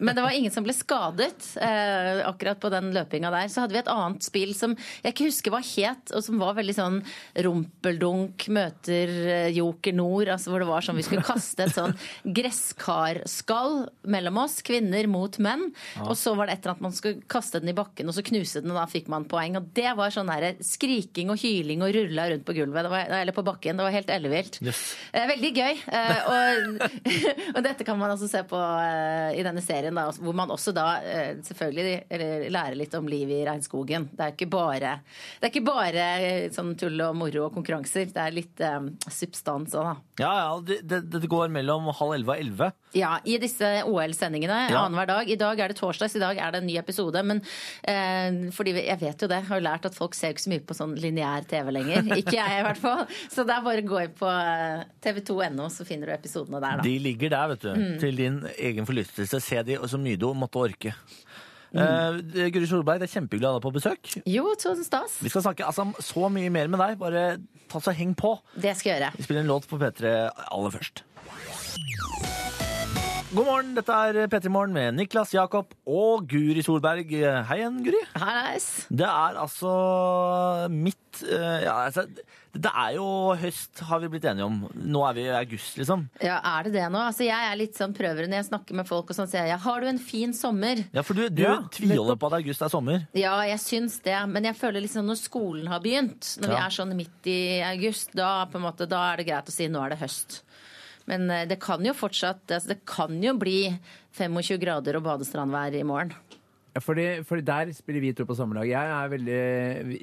[SPEAKER 4] men det var ingen som ble skadet eh, akkurat på den løpinga der. Så hadde vi et annet spill som jeg ikke husker hva het, og som var veldig sånn rumpeldunk møter eh, Joker Nord. Altså, hvor det var sånn vi skulle kaste et sånn greskarskall mellom oss, kvinner mot menn. Og så var det et eller annet man skulle kaste den i bakken og så knuse den, og da fikk man poeng. Og det var sånn der, skriking og hyling og rulla rundt på gulvet, det var, eller på bakken. Det var helt ellevilt.
[SPEAKER 2] Yes.
[SPEAKER 4] Eh, veldig gøy. Eh, og, (laughs) og dette kan man altså se på eh, i denne serien, da, hvor man også da eh, selvfølgelig eller, lærer litt om livet i regnskogen. Det er ikke bare, det er ikke bare eh, sånn tull og moro og konkurranser. Det er litt eh, substans òg, da.
[SPEAKER 2] Ja, ja. og Det, det, det går mellom halv elleve og elleve.
[SPEAKER 4] Ja, i disse OL-sendingene
[SPEAKER 2] Ja.
[SPEAKER 4] annenhver dag. I dag er det torsdag, så i dag er det en ny episode. Men eh, fordi vi- jeg vet jo det, har jo lært at folk ser jo ikke så mye på sånn lineær TV (laughs) lenger. Ikke jeg, i hvert fall. Så det er bare å gå inn på eh, tv2.no, så finner du episodene der, da.
[SPEAKER 2] De ligger der, vet du.
[SPEAKER 3] Mm.
[SPEAKER 2] Til din egen forlystelse. Se de så mye du måtte orke.
[SPEAKER 3] Mm.
[SPEAKER 2] Eh, det- Guri Solberg, det er kjempehyggelig å ha deg på besøk.
[SPEAKER 4] Jo, tusen stas.
[SPEAKER 2] Vi skal snakke altså, så mye mer med deg. Bare ta så heng på.
[SPEAKER 4] Det skal jeg gjøre.
[SPEAKER 2] Vi spiller en låt på P3 aller først. God morgen, dette er P3 Morgen med Niklas, Jakob og Guri Solberg. Hei igjen, Guri.
[SPEAKER 4] Hallais.
[SPEAKER 2] Det er altså mitt eh, ja, altså, Det er jo høst, har vi blitt enige om. Nå er vi i august, liksom.
[SPEAKER 4] Ja, er det det nå? Altså, jeg er litt sånn prøver når jeg snakker med folk og sånn sier jeg har du en fin sommer?
[SPEAKER 2] Ja, for du, du
[SPEAKER 3] Ja,
[SPEAKER 2] tviholder
[SPEAKER 3] nettopp.
[SPEAKER 2] på at august er sommer.
[SPEAKER 4] Ja, jeg syns det, men jeg føler liksom når skolen har begynt, når vi
[SPEAKER 2] Ja.
[SPEAKER 4] er sånn midt i august, da, på en måte, da er det greit å si nå er det høst. Men eh, det kan jo fortsatt altså, Det kan jo bli 25 grader og badestrandvær i morgen.
[SPEAKER 3] Ja, fordi, fordi der spiller vi to på samme lag. Jeg er veldig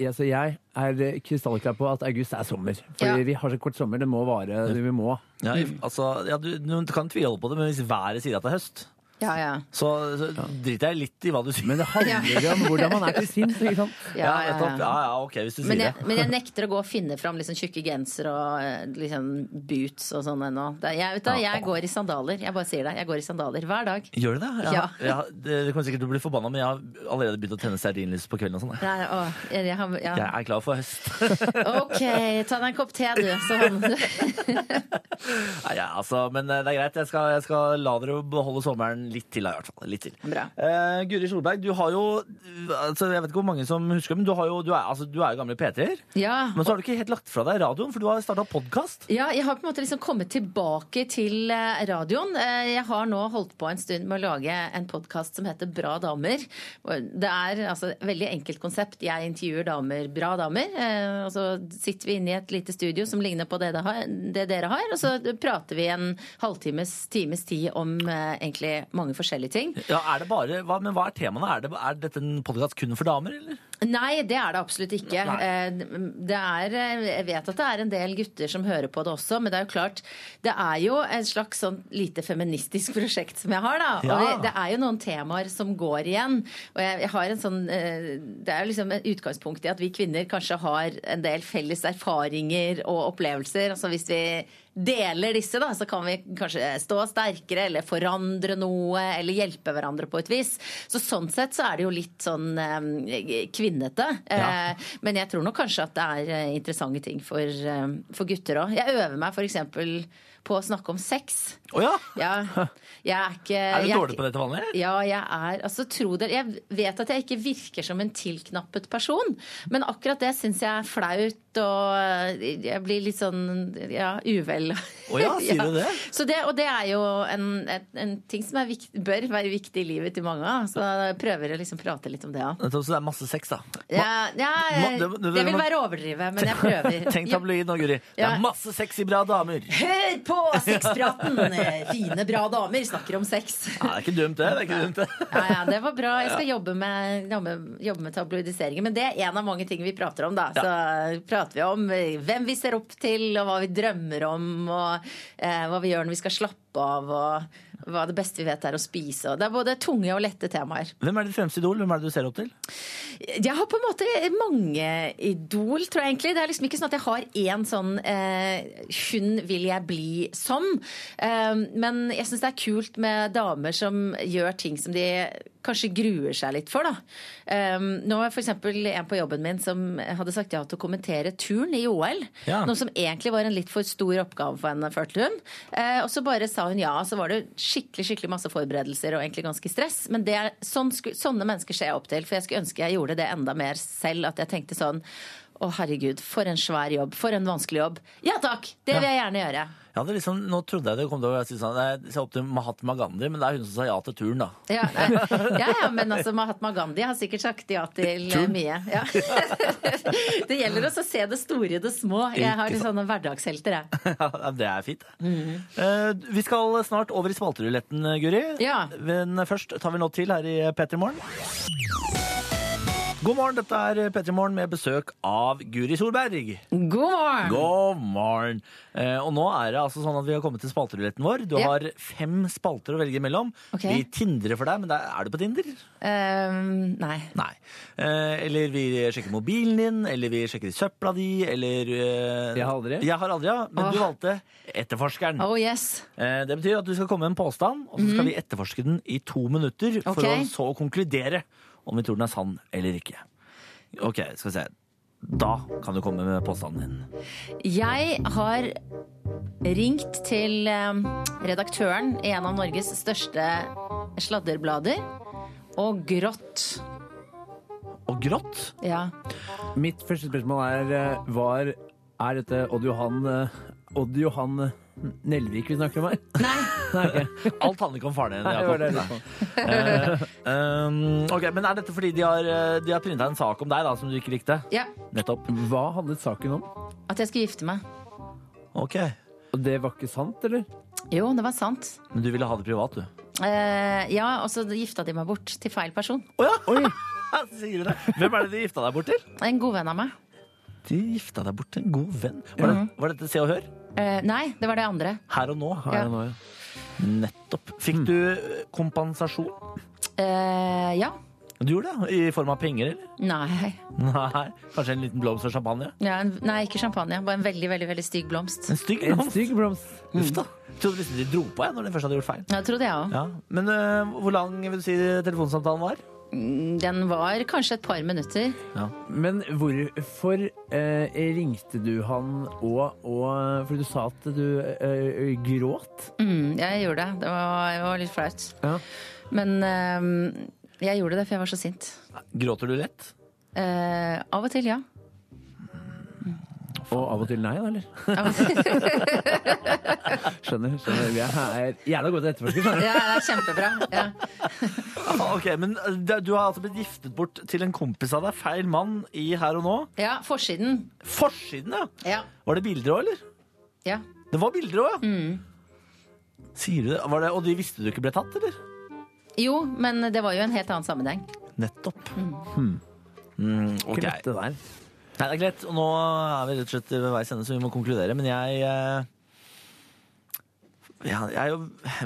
[SPEAKER 3] altså Jeg er krystallklar på at august er sommer. Fordi
[SPEAKER 4] Ja.
[SPEAKER 3] vi har så kort sommer. Det må vare. Det vi må.
[SPEAKER 2] Ja, altså, ja, du, du kan tviholde på det, men hvis været sier at det er høst,
[SPEAKER 4] Ja, ja.
[SPEAKER 2] så, så driter jeg litt i hva du sier. (laughs)
[SPEAKER 3] Men det handler om hvordan man er til sinns. ikke sant?
[SPEAKER 2] ja, nettopp. ja, ja, ok, hvis du sier
[SPEAKER 4] Men
[SPEAKER 2] det.
[SPEAKER 4] jeg, men
[SPEAKER 2] (laughs)
[SPEAKER 4] jeg nekter å gå og finne fram liksom tjukke gensere og eh, liksom boots og sånn ennå. Det- Jeg, vet da, jeg går i sandaler. Jeg bare sier det. Jeg går i sandaler hver dag.
[SPEAKER 2] Gjør du det? Jeg-
[SPEAKER 4] Ja.
[SPEAKER 2] jeg- det, det kommer sikkert til å bli forbanna, men jeg har allerede begynt å tenne stearinlys på kvelden. og sånn. jeg.
[SPEAKER 4] Nei, å, jeg, jeg, har- ja.
[SPEAKER 2] Jeg er klar for høst. (laughs)
[SPEAKER 4] Ok, ta deg en kopp te, du. Så havner du (laughs)
[SPEAKER 2] Nei, ja, altså, men eh, det er greit. Jeg skal, jeg skal la dere beholde sommeren litt til, da, i hvert fall. Litt til.
[SPEAKER 4] Bra.
[SPEAKER 2] Eh, Guri Solberg, du har jo altså, Jeg vet ikke hvor mange som husker, men du, har jo, du, er, altså, du er jo gamle P3-er.
[SPEAKER 4] Ja,
[SPEAKER 2] Men så har du ikke helt lagt fra deg radioen, for du har starta podkast.
[SPEAKER 4] Ja, jeg har på en måte liksom kommet tilbake til eh, radioen. Eh, Jeg har nå holdt på en stund med å lage en podkast som heter Bra damer. Og Det er altså et veldig enkelt konsept. Jeg intervjuer damer, bra damer. eh, Og så sitter vi inne i et lite studio som ligner på det det har- det dere har. Og så prater vi en halvtimes, times tid om eh, egentlig mange forskjellige ting.
[SPEAKER 2] Ja, er det bare, hva, men hva er temaene? Er, det, er dette en podkast kun for damer, eller?
[SPEAKER 4] Nei, det er det absolutt ikke. Eh, Det er, eh, jeg vet at det er en del gutter som hører på det også, men det er jo klart Det er jo et slags sånn lite feministisk prosjekt som jeg har, da. Og
[SPEAKER 2] Ja.
[SPEAKER 4] jeg- det er jo noen temaer som går igjen. Og jeg, jeg har en sånn eh, Det er jo liksom et utgangspunkt i at vi kvinner kanskje har en del felles erfaringer og opplevelser. Altså hvis vi deler disse, da, så kan vi kanskje stå sterkere eller forandre noe eller hjelpe hverandre på et vis. Så sånn sett så er det jo litt sånn eh, kvinnete.
[SPEAKER 2] Ja.
[SPEAKER 4] Eh, Men jeg tror nok kanskje at det er eh, interessante ting for, eh, for gutter òg. Jeg øver meg f.eks. på å snakke om sex.
[SPEAKER 2] Å ja! (laughs) Eh,
[SPEAKER 4] Ja, jeg er ikke
[SPEAKER 2] Er du
[SPEAKER 4] jeg
[SPEAKER 2] dårlig på det til vanlig?
[SPEAKER 4] ja, jeg er altså, tro det, Jeg vet at jeg ikke virker som en tilknappet person, men akkurat det syns jeg er flaut, og eh, jeg blir litt sånn ja, uvel.
[SPEAKER 2] Å ja,
[SPEAKER 4] (laughs)
[SPEAKER 2] sier du det?
[SPEAKER 4] Så det? Og det er jo en, en, en ting som er vikt, bør være viktig i livet til mange. da. Så jeg prøver å liksom prate litt om det òg.
[SPEAKER 2] Nettopp, Så det er masse sex, da.
[SPEAKER 4] Ja, ja,
[SPEAKER 2] Ma-
[SPEAKER 4] det
[SPEAKER 2] det- det-
[SPEAKER 4] vil
[SPEAKER 2] man-
[SPEAKER 4] være å overdrive, men jeg prøver.
[SPEAKER 2] (laughs) Tenk tabloid nå, Guri. Det
[SPEAKER 4] Ja.
[SPEAKER 2] er masse sexy bra damer. Ja,
[SPEAKER 4] Hør på sexpraten! Fine, bra damer snakker om sex.
[SPEAKER 2] (laughs) det er ikke dumt, det. det, er ikke dumt, det.
[SPEAKER 4] Ja, ja, det var bra. Jeg skal jobbe med, jobbe, jobbe med tabloidiseringen. Men det er en av mange ting vi prater om, da. Så prater vi om eh, hvem vi ser opp til, og hva vi drømmer om, og eh, hva vi gjør når vi skal slappe av, og hva det beste vi vet er å spise. Og det er både tunge og lette temaer.
[SPEAKER 2] Hvem er ditt fremste idol? Hvem er det du ser opp til?
[SPEAKER 4] Jeg har på en måte mange idol, tror jeg egentlig. Det er liksom ikke sånn at jeg har én sånn eh, Hun vil jeg bli som. Eh, men jeg syns det er kult med damer som gjør ting som de kanskje gruer seg litt for, da. Eh, nå var f.eks. en på jobben min som hadde sagt ja til å kommentere turn i OL.
[SPEAKER 2] Ja.
[SPEAKER 4] Noe som egentlig var en litt for stor oppgave for henne, følte hun. Eh, og så bare sa hun ja, og så var det skikkelig skikkelig masse forberedelser og egentlig ganske stress. Men det er, sånn sku, sånne mennesker ser jeg opp til, for jeg skulle ønske jeg gjorde det enda mer selv. At jeg tenkte sånn å herregud, for en svær jobb, for en vanskelig jobb. Ja takk, det vil jeg gjerne gjøre.
[SPEAKER 2] Jeg hadde liksom, nå trodde jeg det kom til å si sånn, jeg ser opp til Mahatma Gandhi, men det er hun som sa ja til turen, da.
[SPEAKER 4] Ja, nei. ja, ja men altså Mahatma Gandhi har sikkert sagt ja til eh, mye. Ja. (laughs) det gjelder også å se det store i det små. Jeg har
[SPEAKER 2] Ikke
[SPEAKER 4] litt sånne hverdagshelter, jeg.
[SPEAKER 2] (laughs) Ja, det er fint, det.
[SPEAKER 4] Mm.
[SPEAKER 2] Eh, vi skal snart over i spalteruletten, eh, Guri.
[SPEAKER 4] Ja.
[SPEAKER 2] Men først tar vi nå til her i eh, P3 Morgen. God morgen, dette er eh, P3 Morgen med besøk av Guri Solberg.
[SPEAKER 4] God morgen!
[SPEAKER 2] God morgen! Eh, og nå er det altså sånn at vi har kommet til spalteruletten vår. Du
[SPEAKER 4] Ja.
[SPEAKER 2] har fem spalter å velge mellom.
[SPEAKER 4] Ok.
[SPEAKER 2] Vi tindrer for deg, men der, er du på Tinder?
[SPEAKER 4] Ehm, nei.
[SPEAKER 2] Nei. Eh, eller vi sjekker mobilen din, eller vi sjekker søpla di, eller eh,
[SPEAKER 3] Jeg har aldri.
[SPEAKER 2] Jeg har aldri, ja. Men du valgte Etterforskeren.
[SPEAKER 4] Oh yes.
[SPEAKER 2] Eh, det betyr at du skal komme med en påstand, og så skal vi etterforske den i to minutter for
[SPEAKER 4] Ok.
[SPEAKER 2] å så konkludere om vi tror den er sann eller ikke. OK, skal vi se. Da kan du komme med påstanden din.
[SPEAKER 4] Jeg har ringt til eh, redaktøren i en av Norges største sladderblader og grått.
[SPEAKER 2] Og grått?
[SPEAKER 4] Ja.
[SPEAKER 3] Mitt første spørsmål er eh, var, Er dette Odd Johan eh, Odd Johan eh, Nelvik vi snakker om her?
[SPEAKER 4] Nei.
[SPEAKER 3] Nei, ok.
[SPEAKER 2] Alt handler ikke om faren din.
[SPEAKER 3] (laughs) Nei, det
[SPEAKER 2] Jakob.
[SPEAKER 3] var det jeg lurte på.
[SPEAKER 2] Um, ok, men Er dette fordi de har, eh, de har printa en sak om deg da, som du ikke likte?
[SPEAKER 4] ja.
[SPEAKER 2] Nettopp.
[SPEAKER 3] Hva handlet saken om?
[SPEAKER 4] At jeg skulle gifte meg.
[SPEAKER 2] Ok.
[SPEAKER 3] Og det var ikke sant, eller?
[SPEAKER 4] Jo, det var sant.
[SPEAKER 2] Men du ville ha det privat, du.
[SPEAKER 4] Eh, ja, og så gifta de meg bort til feil person.
[SPEAKER 2] Å (laughs) ja! Sier du det? Hvem er det de gifta deg bort til?
[SPEAKER 4] En god venn av meg.
[SPEAKER 2] De gifta deg bort til en god venn. Var, det, var dette Se og Hør?
[SPEAKER 4] Eh, nei, det var det andre.
[SPEAKER 2] Her og nå?
[SPEAKER 4] Ja.
[SPEAKER 3] Nå, ja.
[SPEAKER 2] Nettopp. Fikk du eh, kompensasjon?
[SPEAKER 4] Eh, ja.
[SPEAKER 2] Du gjorde det? I form av penger, eller?
[SPEAKER 4] Nei.
[SPEAKER 2] (laughs) Nei. Kanskje en liten blomst og champagne?
[SPEAKER 4] Ja, en, nei, ikke champagne. Bare en veldig, veldig, veldig stygg blomst.
[SPEAKER 2] En stygg
[SPEAKER 3] En
[SPEAKER 2] blomst.
[SPEAKER 3] stygg blomst.
[SPEAKER 2] Uff da. Trodde liksom de dro på jeg når de først hadde gjort feil.
[SPEAKER 4] Ja, Det trodde jeg òg.
[SPEAKER 2] Ja. Men eh, hvor lang vil du si telefonsamtalen var?
[SPEAKER 4] Mm, Den var kanskje et par minutter.
[SPEAKER 3] Men hvorfor eh, ringte du han og, og For du sa at du eh, gråt?
[SPEAKER 4] Mm, jeg gjorde det. Det var, det var litt flaut.
[SPEAKER 3] Ja.
[SPEAKER 4] Men eh, jeg gjorde det, for jeg var så sint.
[SPEAKER 2] Gråter du lett?
[SPEAKER 4] Eh, av og til, ja.
[SPEAKER 3] Og av og til nei, da, eller? skjønner. skjønner. Vi er gjerne gode til å etterforske,
[SPEAKER 5] (laughs)
[SPEAKER 3] skjønner du.
[SPEAKER 4] Ja, det er kjempebra. Ja.
[SPEAKER 2] Ah, Ok, men det- Du har altså blitt giftet bort til en kompis av deg. Feil mann i Her og Nå.
[SPEAKER 4] ja, forsiden.
[SPEAKER 2] Forsiden, ja!
[SPEAKER 4] Ja.
[SPEAKER 2] Var det bilder òg, eller?
[SPEAKER 4] ja.
[SPEAKER 2] Det var bilder òg, ja. Sier du det? Var det? Og de visste du ikke ble tatt, eller?
[SPEAKER 4] Jo, men det var jo en helt annen sammenheng.
[SPEAKER 2] Nettopp. Mm, Hmm. ok.
[SPEAKER 3] Ikke dette der.
[SPEAKER 2] Nei, det er greit. Og nå er vi rett og slett ved veis ende, så vi må konkludere. Men jeg eh, ja, Jeg er jo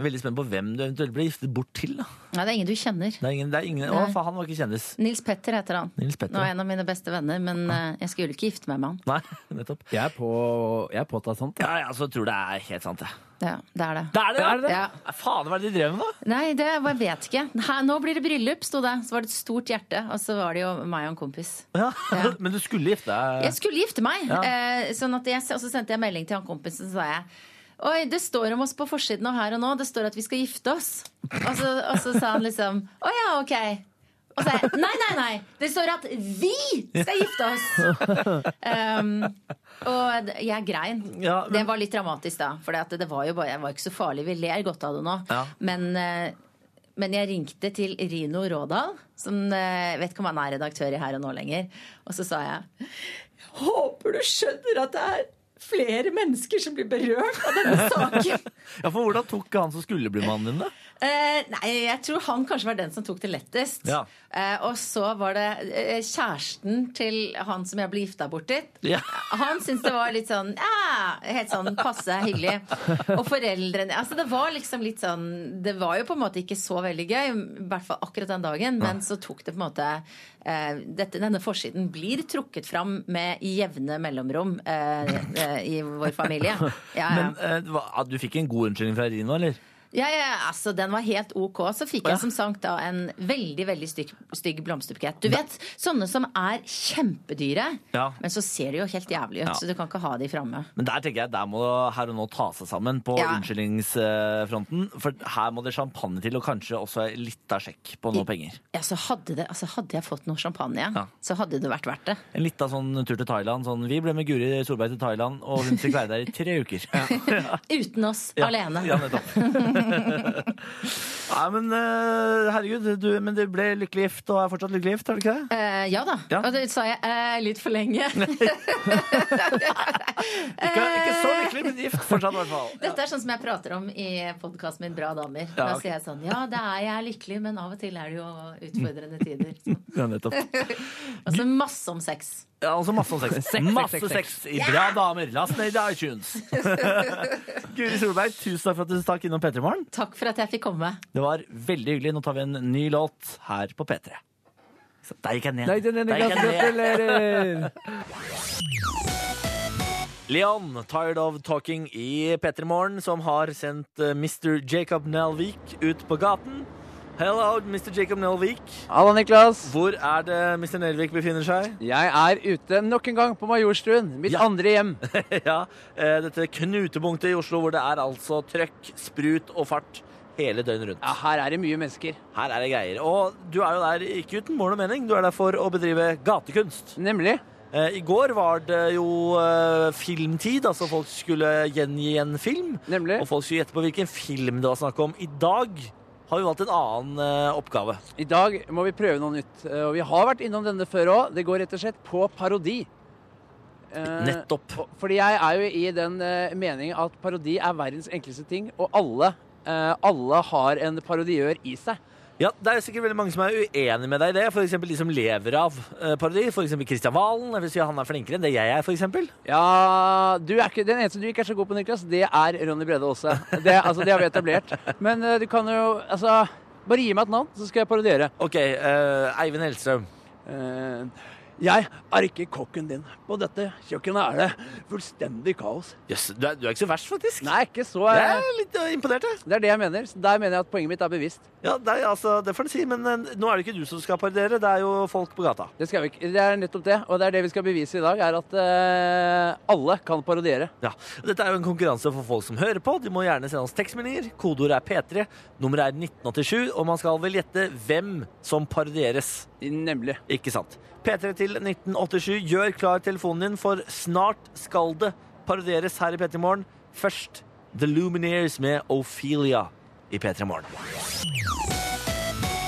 [SPEAKER 2] veldig spent på hvem du eventuelt ble giftet bort til. Da.
[SPEAKER 4] Nei, det er ingen du kjenner.
[SPEAKER 2] Det er ingen, det er ingen Å,
[SPEAKER 4] Nei.
[SPEAKER 2] faen, han var ikke kjendis.
[SPEAKER 4] Nils Petter heter han.
[SPEAKER 2] Nils Petter.
[SPEAKER 4] Nå er en av mine beste venner, men eh, jeg skulle ikke gifte meg med han.
[SPEAKER 2] Nei, (laughs) nettopp.
[SPEAKER 3] Jeg er, på, jeg er påtatt sånt.
[SPEAKER 2] Ja, ja, så tror jeg det er helt sant, jeg.
[SPEAKER 4] Ja, det er det.
[SPEAKER 2] Det er det,
[SPEAKER 3] Er det det?
[SPEAKER 4] Ja.
[SPEAKER 2] Faen, hva er det de drev med, da?
[SPEAKER 4] Nei, det var, jeg vet ikke. Her, nå blir det bryllup, sto det. Så var det et stort hjerte, og så var det jo meg og en kompis.
[SPEAKER 2] Ja.
[SPEAKER 4] Ja.
[SPEAKER 2] (laughs) Men du skulle gifte
[SPEAKER 4] Jeg
[SPEAKER 2] deg?
[SPEAKER 4] skulle gifte meg,
[SPEAKER 2] Eh, Ja.
[SPEAKER 4] eh, sånn at jeg, og så sendte jeg melding til han kompisen, så sa jeg Oi, det står om oss på forsiden og her og nå. Det står at vi skal gifte oss. Og så, og så sa han liksom Å ja, ok. Og så sa jeg nei, nei, nei. Det står at vi skal gifte oss! Um, og d- jeg grein.
[SPEAKER 2] Ja, men-
[SPEAKER 4] Det var litt dramatisk da. For det, at det var jo bare, jeg var ikke så farlig. Vi ler godt av det nå.
[SPEAKER 2] Ja.
[SPEAKER 4] Men, eh, men jeg ringte til Rino Rådal, som eh, vet ikke om han er redaktør i Her og Nå lenger. Og så sa jeg håper du skjønner at det er flere mennesker som blir berørt av denne saken.
[SPEAKER 2] Ja, for hvordan tok han som skulle bli mannen din, da?
[SPEAKER 4] Eh, nei, jeg tror han kanskje var den som tok det lettest.
[SPEAKER 2] Ja.
[SPEAKER 4] Eh, og så var det eh, kjæresten til han som jeg ble gifta bort til.
[SPEAKER 2] Ja.
[SPEAKER 4] Han syntes det var litt sånn ja, helt sånn passe hyggelig. Og foreldrene Altså, det var liksom litt sånn Det var jo på en måte ikke så veldig gøy, i hvert fall akkurat den dagen, men så tok det på en måte eh, dette, Denne forsiden blir trukket fram med jevne mellomrom eh, eh, i vår familie. Ja, ja.
[SPEAKER 2] Men eh, det var- ah, du fikk en god unnskyldning fra Rino, eller?
[SPEAKER 4] Ja, ja, altså Den var helt ok. Så fikk
[SPEAKER 2] Ja.
[SPEAKER 4] jeg som sagt da en veldig veldig stygg, stygg blomsterbukett. Du vet, Sånne som er kjempedyre,
[SPEAKER 2] Ja.
[SPEAKER 4] men så ser de jo helt jævlig ut.
[SPEAKER 2] Ja.
[SPEAKER 4] Så du kan ikke ha de framme.
[SPEAKER 2] Men der tenker jeg der må her og nå ta seg sammen på
[SPEAKER 4] Ja.
[SPEAKER 2] unnskyldningsfronten. For her må det champagne til, og kanskje også litt av sjekk på noe penger.
[SPEAKER 4] Ja, så hadde, det, altså, hadde jeg fått noe champagne,
[SPEAKER 2] Ja.
[SPEAKER 4] så hadde det vært verdt det.
[SPEAKER 2] En lita sånn tur til Thailand. Sånn, vi ble med Guri Solberg til Thailand, og hun fikk være der i tre
[SPEAKER 4] (laughs)
[SPEAKER 2] uker.
[SPEAKER 4] Uten oss,
[SPEAKER 2] Ja.
[SPEAKER 4] (laughs) alene.
[SPEAKER 2] Ja, nettopp. Nei, men eh, herregud, du, men du ble lykkelig gift, og er fortsatt lykkelig gift, er du ikke det?
[SPEAKER 4] Eh, ja da.
[SPEAKER 2] Ja.
[SPEAKER 4] Og det sa jeg eh, litt for lenge.
[SPEAKER 2] Ikke, ikke så lykkelig, men gift fortsatt, i hvert fall.
[SPEAKER 4] (laughs) Dette er sånn som jeg prater om i podkasten min Bra damer.
[SPEAKER 2] Ja,
[SPEAKER 4] da
[SPEAKER 2] ok.
[SPEAKER 4] sier jeg sånn Ja, det er jeg er lykkelig, men av og til er det jo utfordrende tider. Sånn.
[SPEAKER 2] Ja, nettopp.
[SPEAKER 4] Altså masse om sex.
[SPEAKER 2] Ja, altså masse om sex. masse sex, i Bra damer. Last ned i iTunes. (laughs) Guri Solberg, tusen takk for at du stakk innom P3 Morgen.
[SPEAKER 4] Takk for at jeg fikk komme.
[SPEAKER 2] Det var veldig hyggelig. Nå tar vi en ny låt her på P3. Så der gikk jeg ned.
[SPEAKER 3] Nei, den ene
[SPEAKER 2] Der gikk
[SPEAKER 3] klassen
[SPEAKER 2] jeg ned.
[SPEAKER 3] gratulerer!
[SPEAKER 5] (laughs)
[SPEAKER 2] Leon, Tired of Talking i P3 Morgen, som har sendt eh, Mr. Jacob Nelvik ut på gaten. Hello, Mr. Jacob Nelvik.
[SPEAKER 5] Halla, Niklas.
[SPEAKER 2] Hvor er det Mr. Nelvik befinner seg?
[SPEAKER 5] Jeg er ute nok en gang på Majorstuen. Mitt
[SPEAKER 2] Ja.
[SPEAKER 5] andre hjem.
[SPEAKER 2] (laughs) ja, eh, dette knutepunktet i Oslo hvor det er altså trøkk, sprut og fart hele døgnet rundt.
[SPEAKER 5] Ja, her er det mye mennesker.
[SPEAKER 2] Her er det greier. Og du er jo der ikke uten mål og mening, du er der for å bedrive gatekunst.
[SPEAKER 5] Nemlig.
[SPEAKER 2] Eh, I går var det jo eh, filmtid, altså folk skulle gjengi en film.
[SPEAKER 5] Nemlig.
[SPEAKER 2] Og folk skulle gjette på hvilken film det var snakk om. I dag har vi valgt en annen eh, oppgave.
[SPEAKER 5] I dag må vi prøve noe nytt. Eh, Og vi har vært innom denne før òg. Det går rett og slett på parodi. Eh,
[SPEAKER 2] Nettopp.
[SPEAKER 5] og- Fordi jeg er jo i den eh, meningen at parodi er verdens enkleste ting, og alle, eh, alle har en parodiør i seg.
[SPEAKER 2] Ja, Det er sikkert veldig mange som er uenig med deg i det. F.eks. de som lever av eh, parodi. F.eks. Kristian Valen. Jeg vil si han er flinkere enn det jeg er, f.eks.
[SPEAKER 5] Ja, du er ikke, Den eneste du ikke er så god på, Niklas, det er Ronny Brede Aase. Det, altså, det har vi etablert. Men eh, du kan jo altså, Bare gi meg et navn, så skal jeg parodiere.
[SPEAKER 2] OK. eh, Eivind Hellstrøm.
[SPEAKER 5] Eh,
[SPEAKER 3] Jeg er ikke kokken din. På dette kjøkkenet er det fullstendig kaos.
[SPEAKER 2] Jøss, du, er- du er ikke så verst, faktisk.
[SPEAKER 3] Nei, ikke så
[SPEAKER 2] Jeg er litt eh, imponert, jeg.
[SPEAKER 3] Det er det jeg mener. Så der mener jeg at poenget mitt er bevisst.
[SPEAKER 2] Ja, det, er- altså, det får du si, men eh, nå er det ikke du som skal parodiere, det er jo folk på gata.
[SPEAKER 3] Det, skal vi ikke. det er nettopp det, og det er det vi skal bevise i dag, er at eh, alle kan parodiere.
[SPEAKER 2] Ja, og Dette er jo en konkurranse for folk som hører på. De må gjerne sende oss tekstmeldinger. Kodeordet er P3. Nummeret er 1987, og man skal vel gjette hvem som parodieres.
[SPEAKER 3] Nemlig.
[SPEAKER 2] Ikke sant? P3 til 1987. Gjør klar telefonen din, for snart skal det parodieres her i P3 Morgen. Først The Lumineers med Ophelia i P3 Morgen.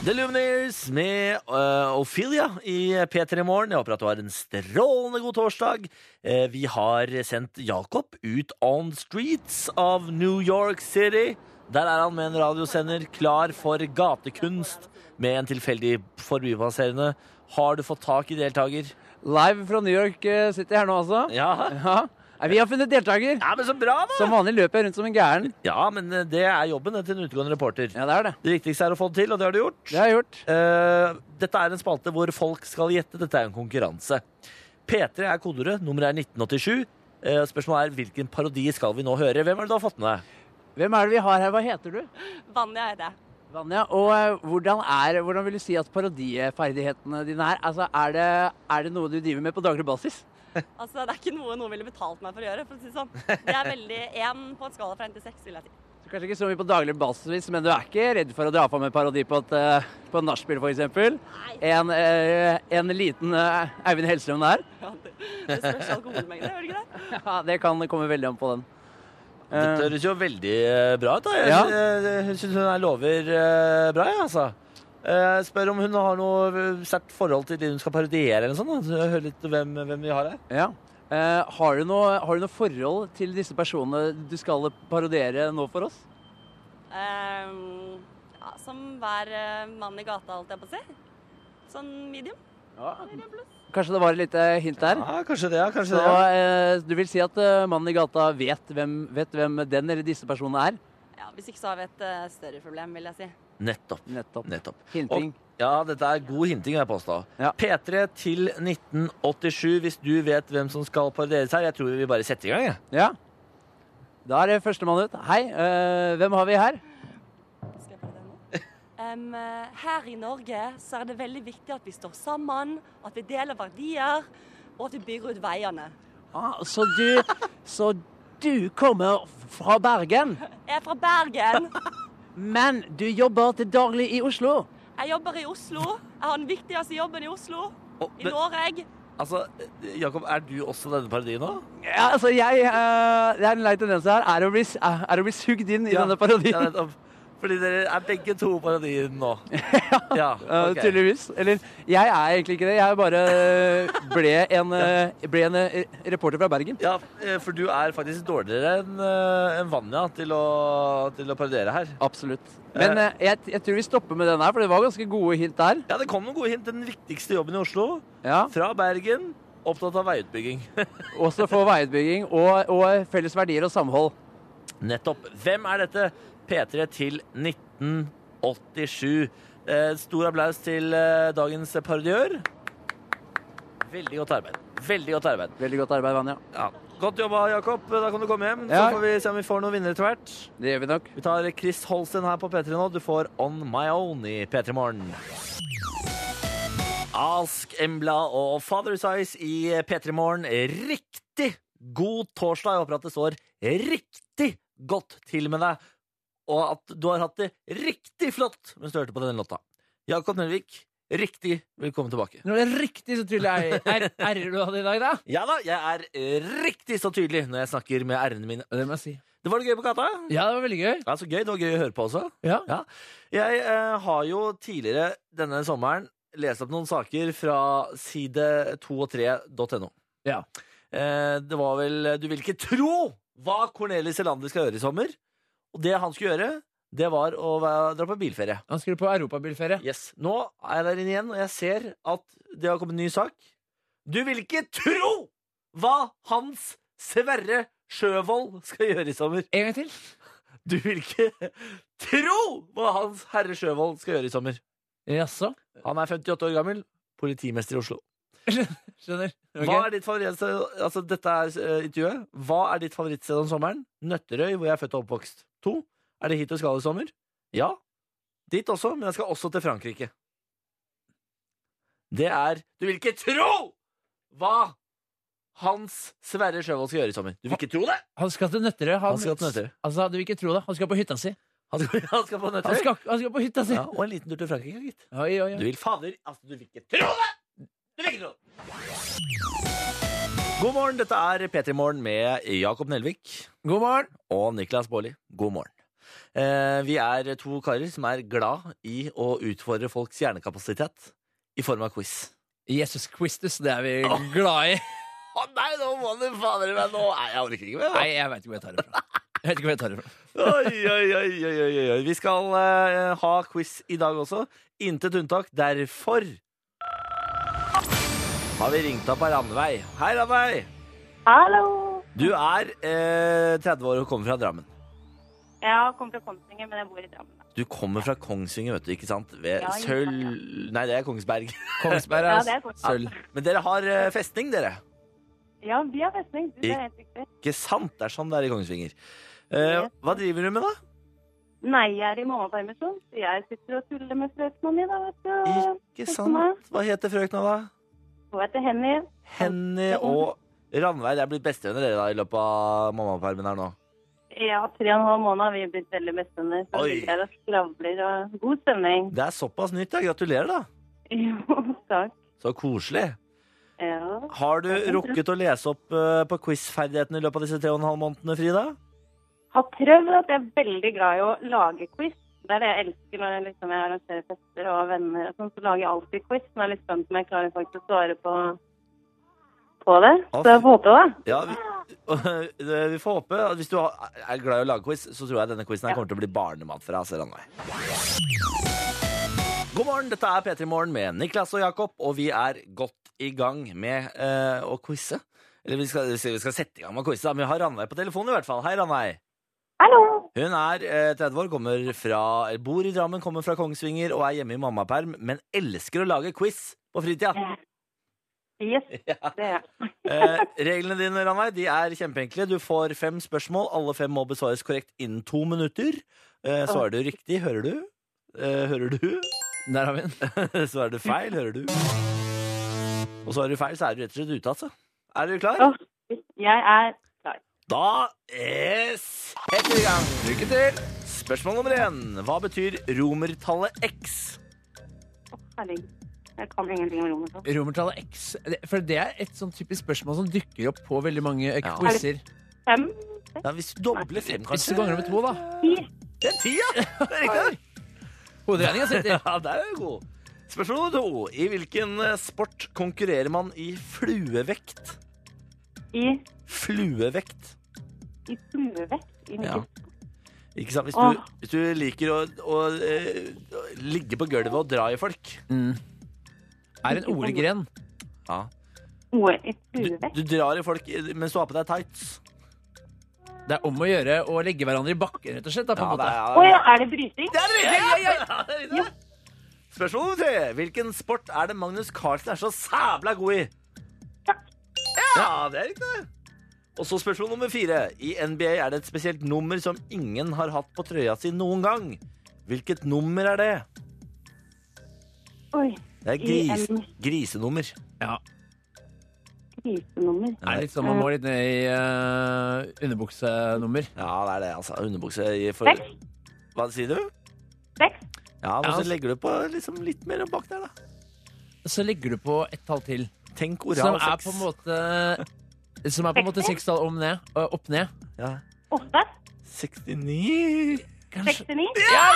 [SPEAKER 2] The Lumineers med øh, Ophelia i P3 Morgen. Jeg håper at du har en strålende god torsdag. Eh, vi har sendt Jakob ut on streets av New York City. Der er han med en radiosender klar for gatekunst med en tilfeldig forbipasserende. Har du fått tak i deltaker?
[SPEAKER 3] Live fra New York eh, City her nå, altså.
[SPEAKER 2] Ja.
[SPEAKER 3] Ja. Nei, Vi har funnet deltaker.
[SPEAKER 2] ja, men så bra, da!
[SPEAKER 3] Som vanlig løper jeg rundt som en gæren.
[SPEAKER 2] Ja, men eh, det er jobben det, til en utegående reporter.
[SPEAKER 3] Ja, det er det.
[SPEAKER 2] Det viktigste er å få det til, og det har du gjort.
[SPEAKER 3] Det har jeg gjort.
[SPEAKER 2] Eh, dette er en spalte hvor folk skal gjette. Dette er en konkurranse. P3 er kodeordet. Nummeret er 1987. Eh, spørsmålet er hvilken parodi skal vi nå høre? Hvem er det du har fått med deg?
[SPEAKER 3] Hvem er det vi har her? Hva heter du?
[SPEAKER 6] Vanja er det.
[SPEAKER 3] Vanja, og eh, hvordan, er, hvordan vil du si at parodiferdighetene dine er? Altså, er det, er det noe du driver med på daglig basis?
[SPEAKER 6] Altså, det er ikke noe noen ville betalt meg for å gjøre, for å si det sånn. Det er veldig én på en skala fra én til seks, vil jeg si.
[SPEAKER 3] Så kanskje ikke så mye på daglig basis, men du er ikke redd for å dra på med parodi på et eh, på en nachspiel, f.eks.?
[SPEAKER 6] Nei,
[SPEAKER 3] En, eh, en liten eh, Eivind Hellstrøm der?
[SPEAKER 6] det spørs alkoholmengde, gjør det ikke det?
[SPEAKER 3] Ja, det kan komme veldig an på den. Eh,
[SPEAKER 2] Dette høres jo veldig eh, bra ut. da Jeg
[SPEAKER 3] Ja.
[SPEAKER 2] eh, syns hun her lover eh, bra, jeg, altså. Eh, spør om hun har noe eh, sterkt forhold til det hun skal parodiere. eller sånn, da. Hør litt hvem, hvem vi har her.
[SPEAKER 3] Ja. Eh, har, du noe, har du noe forhold til disse personene du skal parodiere nå for oss?
[SPEAKER 6] Ehm, ja, som hver eh, mann i gata, holdt jeg på å si. Sånn medium.
[SPEAKER 3] Kanskje det var et lite hint der?
[SPEAKER 2] Ja, kanskje det, ja. Kanskje
[SPEAKER 3] Så
[SPEAKER 2] det. ja.
[SPEAKER 3] eh, du vil si at eh, mannen i gata vet hvem, vet hvem den eller disse personene er?
[SPEAKER 6] Ja, Hvis ikke så har vi et eh, større problem, vil jeg si.
[SPEAKER 2] Nettopp.
[SPEAKER 3] Nettopp.
[SPEAKER 2] Nettopp.
[SPEAKER 3] Hinting.
[SPEAKER 2] Ja, dette er god hinting, vil jeg påstå.
[SPEAKER 3] Ja.
[SPEAKER 2] P3 til 1987, hvis du vet hvem som skal parodieres her. Jeg tror vi bare setter i gang, jeg.
[SPEAKER 3] Ja. Da er det førstemann ut. Hei, eh, hvem har vi her?
[SPEAKER 6] Skal jeg prøve det nå? Em, eh, her i Norge så er det veldig viktig at vi står sammen, at vi deler verdier, og at vi bygger ut veiene.
[SPEAKER 3] Ah, så du Så du kommer fra Bergen,
[SPEAKER 6] Jeg er fra Bergen.
[SPEAKER 3] men du jobber til daglig i Oslo?
[SPEAKER 6] Jeg jobber i Oslo. Jeg har den viktigste jobben i Oslo.
[SPEAKER 2] Og,
[SPEAKER 6] I
[SPEAKER 2] men,
[SPEAKER 6] Norge.
[SPEAKER 2] altså, Jakob, er du også denne parodien nå?
[SPEAKER 3] Ja, altså jeg eh, Det er en lei tendens her, er å bli, s- eh, er å bli sugd inn i denne parodien.
[SPEAKER 2] Ja, nettopp. Fordi dere er begge to parodien
[SPEAKER 3] (laughs)
[SPEAKER 2] nå. ja,
[SPEAKER 3] Eh,
[SPEAKER 2] ok.
[SPEAKER 3] Tydeligvis. Eller, jeg er egentlig ikke det. Jeg bare eh, ble en, eh, ble en eh, reporter fra Bergen.
[SPEAKER 2] Ja, eh, for du er faktisk dårligere enn eh, enn Vanja til å, til å parodiere her.
[SPEAKER 3] Absolutt. Men eh, jeg, jeg tror vi stopper med den her, for det var ganske gode hint der.
[SPEAKER 2] Ja, det kom noen gode hint. Den viktigste jobben i Oslo.
[SPEAKER 3] Ja.
[SPEAKER 2] Fra Bergen. Opptatt av veiutbygging.
[SPEAKER 3] Også for veiutbygging og, og felles verdier og samhold.
[SPEAKER 2] Nettopp. Hvem er dette? P3 til 1987. Eh, stor applaus til eh, dagens parodiør. Veldig godt arbeid. Veldig godt arbeid.
[SPEAKER 3] Veldig godt arbeid, Vanja.
[SPEAKER 2] Ja. Godt jobba, Jakob. Da kan du komme hjem.
[SPEAKER 3] Ja.
[SPEAKER 2] Så får vi se om vi får noen vinnere etter hvert.
[SPEAKER 3] Det gjør vi nok.
[SPEAKER 2] Vi tar Chris Holsten her på P3 nå. Du får On My Own i P3 Morgen. Ask Embla og Father's Eyes i P3 Morgen. Riktig god torsdag. Jeg håper at det står riktig godt til med deg, og at du har hatt det riktig flott mens du hørte på denne låta. Jakob Nelvik, riktig velkommen tilbake.
[SPEAKER 7] Når det er riktig, så tryller jeg R- R-er du hadde i dag, da.
[SPEAKER 2] Ja da, jeg er riktig så tydelig når jeg snakker med r-ene mine.
[SPEAKER 7] Ja, det må jeg si.
[SPEAKER 2] Det var det gøy på gata?
[SPEAKER 7] Ja, det var veldig gøy.
[SPEAKER 2] Ja, så gøy. Det var gøy å høre på også.
[SPEAKER 7] Ja.
[SPEAKER 2] Jeg eh, har jo tidligere denne sommeren lest opp noen saker fra side2og3.no.
[SPEAKER 7] Ja.
[SPEAKER 2] Eh, det var vel Du vil ikke tro hva Cornelis Elander skal gjøre i sommer. Og det han skulle gjøre, det var å være- dra på bilferie.
[SPEAKER 7] Han skulle på europabilferie.
[SPEAKER 2] Yes. Nå er jeg der inne igjen, og jeg ser at det har kommet en ny sak. Du vil ikke tro hva Hans Sverre Sjøvold skal gjøre i sommer.
[SPEAKER 7] En gang til.
[SPEAKER 2] Du vil ikke tro hva Hans Herre Sjøvold skal gjøre i sommer.
[SPEAKER 7] Jaså.
[SPEAKER 2] Han er 58 år gammel, politimester i Oslo.
[SPEAKER 3] Skjønner? Ok.
[SPEAKER 2] Hva er ditt favorittsted Altså, dette er eh, intervjuet. Hva er ditt favorittsted om sommeren? Nøtterøy, hvor jeg er født og oppvokst. To. Er det hit du skal i sommer? Ja. Dit også, men jeg skal også til Frankrike. Det er Du vil ikke tro hva Hans Sverre Sjøvold skal gjøre i sommer. Du vil ikke tro det!
[SPEAKER 3] Han skal til Nøtterøy.
[SPEAKER 2] Han skal til Nøtterøy.
[SPEAKER 3] Altså, du vil ikke tro det. Han skal på hytta si.
[SPEAKER 2] Han skal, han skal på
[SPEAKER 3] Han
[SPEAKER 2] Nøtterøy.
[SPEAKER 3] skal, han skal på hytta si!
[SPEAKER 2] Ja, og en liten tur til Frankrike, gitt.
[SPEAKER 3] Oi, oi, oi.
[SPEAKER 2] Du vil fader Altså, du vil ikke tro det! Du vil ikke tro det! God morgen, dette er P3 Morgen med Jakob Nelvik.
[SPEAKER 3] God morgen!
[SPEAKER 2] og Niklas Baarli, god morgen. Eh, vi er to karer som er glad i å utfordre folks hjernekapasitet i form av quiz.
[SPEAKER 3] Jesus Christus, det er vi glad i.
[SPEAKER 2] Å nei, nå må du fader meg nå! Nei, jeg orker ikke mer.
[SPEAKER 3] Nei, jeg veit ikke hvor jeg tar det fra. Jeg vet ikke hvor jeg tar det fra.
[SPEAKER 2] Oi, oi, oi, oi, oi, oi. Vi skal eh, ha quiz i dag også. Intet unntak. Derfor har vi ringt opp av Randveig. Hei, Randveig.
[SPEAKER 8] Hallo!
[SPEAKER 2] Du er eh, 30 år og kommer fra Drammen.
[SPEAKER 8] Jeg kommer fra Kongsvinger, men jeg bor i Drammen. da.
[SPEAKER 2] Du kommer fra Kongsvinger, vet du, ikke sant? Ved
[SPEAKER 8] Ja, ikke sant, ja.
[SPEAKER 2] Sølv... Nei, det er Kongsberg. (laughs)
[SPEAKER 3] Kongsberg
[SPEAKER 8] Ja,
[SPEAKER 3] er
[SPEAKER 8] det er godt.
[SPEAKER 3] sølv.
[SPEAKER 2] Men dere har eh, festning, dere.
[SPEAKER 8] Ja, vi har festning. Du, det er helt riktig.
[SPEAKER 2] Ikke sant? Det er sånn det er i Kongsvinger. Eh,
[SPEAKER 8] Yes.
[SPEAKER 2] hva driver du med, da?
[SPEAKER 8] Nei, jeg er i mammapermisjon, så jeg sitter og tuller med frøkna mi, da, vet du.
[SPEAKER 2] Ikke
[SPEAKER 8] Ikke meg.
[SPEAKER 2] sant? Hva heter frøkna, da?
[SPEAKER 8] Hun heter Henny.
[SPEAKER 2] Henny og Randveig. Det er blitt bestevenner dere da i løpet av mammapermen her nå.
[SPEAKER 8] Ja, tre og en halv måned har vi blitt veldig bestevenner. Så
[SPEAKER 2] Oi.
[SPEAKER 8] sitter jeg og skravler og god stemning. (laughs)
[SPEAKER 2] Det er såpass nytt, ja. Gratulerer, da.
[SPEAKER 8] Jo, takk.
[SPEAKER 2] Så koselig.
[SPEAKER 8] Ja.
[SPEAKER 2] Har du rukket å lese opp eh, på quizferdighetene i løpet av disse tre og en halv månedene, Frida?
[SPEAKER 8] Har prøvd at jeg er veldig glad i å lage quiz. Det er det jeg elsker når jeg, liksom, jeg arrangerer fester og har venner og sånn, så lager jeg alltid quiz. Men jeg er litt spent om jeg klarer faktisk å svare på, på det.
[SPEAKER 2] Å,
[SPEAKER 8] Så jeg får håpe det.
[SPEAKER 2] Ja, vi, (laughs) vi får håpe. at Hvis du har- er glad i å lage quiz, så tror jeg denne quizen her kommer til å bli barnemat for deg. altså, Randveig. God morgen, dette er P3 Morgen med Niklas og Jakob, og vi er godt i gang med eh, å quize. Eller vi skal, vi skal sette i gang med å quize, da, men vi har Randveig på telefonen i hvert fall. Hei, Randveig.
[SPEAKER 8] Hallo!
[SPEAKER 2] Hun er eh, 30 år, kommer fra, eller bor i Drammen, kommer fra Kongsvinger og er hjemme i mammaperm, men elsker å lage quiz på fritida. (laughs)
[SPEAKER 8] Yes, det er jeg.
[SPEAKER 2] Eh, reglene dine Ranveig, de er kjempeenkle. Du får fem spørsmål. Alle fem må besvares korrekt innen to minutter. Eh, svarer du riktig, hører du. Eh, hører du.
[SPEAKER 3] Der har vi den.
[SPEAKER 2] (laughs) svarer du feil, hører du. Og svarer du feil, så er du rett og slett ute, altså. Er du
[SPEAKER 8] Å,
[SPEAKER 2] klar?
[SPEAKER 8] Jeg er
[SPEAKER 2] Da er setter vi i gang. Lykke til. Spørsmål nummer én. Hva betyr romertallet x?
[SPEAKER 8] Herregud. Jeg kan ingenting om romertall.
[SPEAKER 3] Romertallet X. For det er et sånn typisk spørsmål som dukker opp på veldig mange eh,
[SPEAKER 2] Ja.
[SPEAKER 3] quizer.
[SPEAKER 8] Fem,
[SPEAKER 2] Ja, hvis du dobler fem,
[SPEAKER 3] Hvis
[SPEAKER 2] kanskje.
[SPEAKER 3] du ganger med to, da.
[SPEAKER 8] ti.
[SPEAKER 2] Det er ti, ja. Det er riktig.
[SPEAKER 3] Hoderegninga
[SPEAKER 2] (laughs)
[SPEAKER 3] sitter.
[SPEAKER 2] Ja, det er jo god. Spørsmål nummer to. I hvilken eh, sport konkurrerer man i fluevekt?
[SPEAKER 8] I,
[SPEAKER 2] Fluevekt.
[SPEAKER 8] i fluevekt. I
[SPEAKER 2] Ja.
[SPEAKER 8] hvilken-
[SPEAKER 2] Ikke sant? Hvis
[SPEAKER 8] Åh.
[SPEAKER 2] du, hvis du liker å, å eh, ligge på gulvet og dra i folk.
[SPEAKER 3] Mm. Er en ordgren.
[SPEAKER 8] noe i
[SPEAKER 2] Du,
[SPEAKER 8] fluevekt.
[SPEAKER 2] du drar i folk eh, mens du har på deg tights.
[SPEAKER 3] Det er om å gjøre å legge hverandre i bakken, rett og slett. Da, på en måte.
[SPEAKER 8] Å ja, er det bryting?
[SPEAKER 2] Det er riktig! Ja, ja, ja, ja. Spørsmål nummer tre. Hvilken sport er det Magnus Carlsen er så sæbla god i? Ja, det er riktig. det. Og så spørsmål nummer fire. I NBA er det et spesielt nummer som ingen har hatt på trøya si noen gang. Hvilket nummer er det?
[SPEAKER 8] Oi,
[SPEAKER 2] Det er gris, grisenummer.
[SPEAKER 3] Ja.
[SPEAKER 8] krisenummer.
[SPEAKER 3] Det er litt sånn man må litt ned i eh, underbuksenummer.
[SPEAKER 2] Ja, det er det, altså. Underbukse i for...
[SPEAKER 8] Seks,
[SPEAKER 2] Hva sier du?
[SPEAKER 8] seks.
[SPEAKER 2] Ja, men
[SPEAKER 3] Ja,
[SPEAKER 2] så
[SPEAKER 3] altså-
[SPEAKER 2] legger du på liksom litt mer bak der, da.
[SPEAKER 3] Så legger du på ett tall til,
[SPEAKER 2] Tenk
[SPEAKER 3] som
[SPEAKER 2] oral
[SPEAKER 3] er på en måte Som er på en måte seks tall om ned, ø, opp ned.
[SPEAKER 2] Ja.
[SPEAKER 8] Åtte,
[SPEAKER 2] 69
[SPEAKER 3] Kanskje
[SPEAKER 8] 69. (laughs) Ja!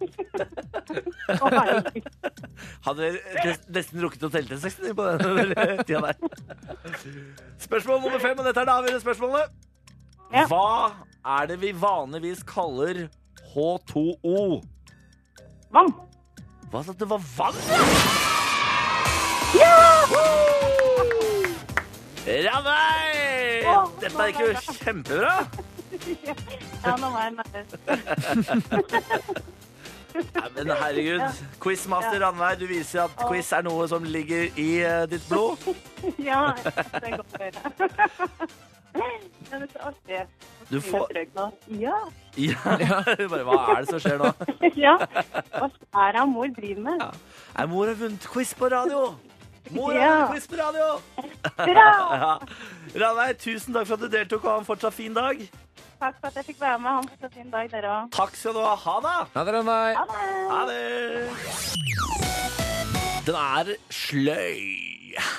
[SPEAKER 8] Å, herregud.
[SPEAKER 2] Hadde dere nes- nesten rukket å telle til 69 på den (laughs) tida der. Spørsmål nummer fem, og dette er det avgjørende spørsmålet.
[SPEAKER 8] Ja.
[SPEAKER 2] Hva er det vi vanligvis kaller H2O?
[SPEAKER 8] Vann.
[SPEAKER 2] Hva sa du? Det var vann, ja! Ranveig!
[SPEAKER 8] Å,
[SPEAKER 2] Dette gikk jo kjempebra.
[SPEAKER 8] Ja, nå var jeg nervøs.
[SPEAKER 2] Nei, men herregud. Quizmaster Ranveig, du viser at quiz er noe som ligger i eh, ditt blod.
[SPEAKER 8] (laughs) Ja, det er godt å høre. (laughs) Men det er så artig. å
[SPEAKER 2] Du
[SPEAKER 8] skrive
[SPEAKER 2] får-
[SPEAKER 8] trøkk nå. Ja. (laughs)
[SPEAKER 2] Ja, (laughs) bare, Hva er det som skjer nå?
[SPEAKER 8] ja. Hva er det mor driver med?
[SPEAKER 2] Nei, mor har vunnet quiz på radio! Mor har
[SPEAKER 8] Ja.
[SPEAKER 2] vunnet quiz på radio!
[SPEAKER 8] Bra!
[SPEAKER 2] Ja. Ranveig, tusen takk for at du deltok, og ha en fortsatt fin dag.
[SPEAKER 8] Takk for at jeg fikk være med. Ha en fortsatt fin dag, dere òg.
[SPEAKER 2] Takk skal du ha. Ha det!
[SPEAKER 3] Ha det, Ranveig.
[SPEAKER 8] Ha det!
[SPEAKER 2] Ha det! Den er sløy.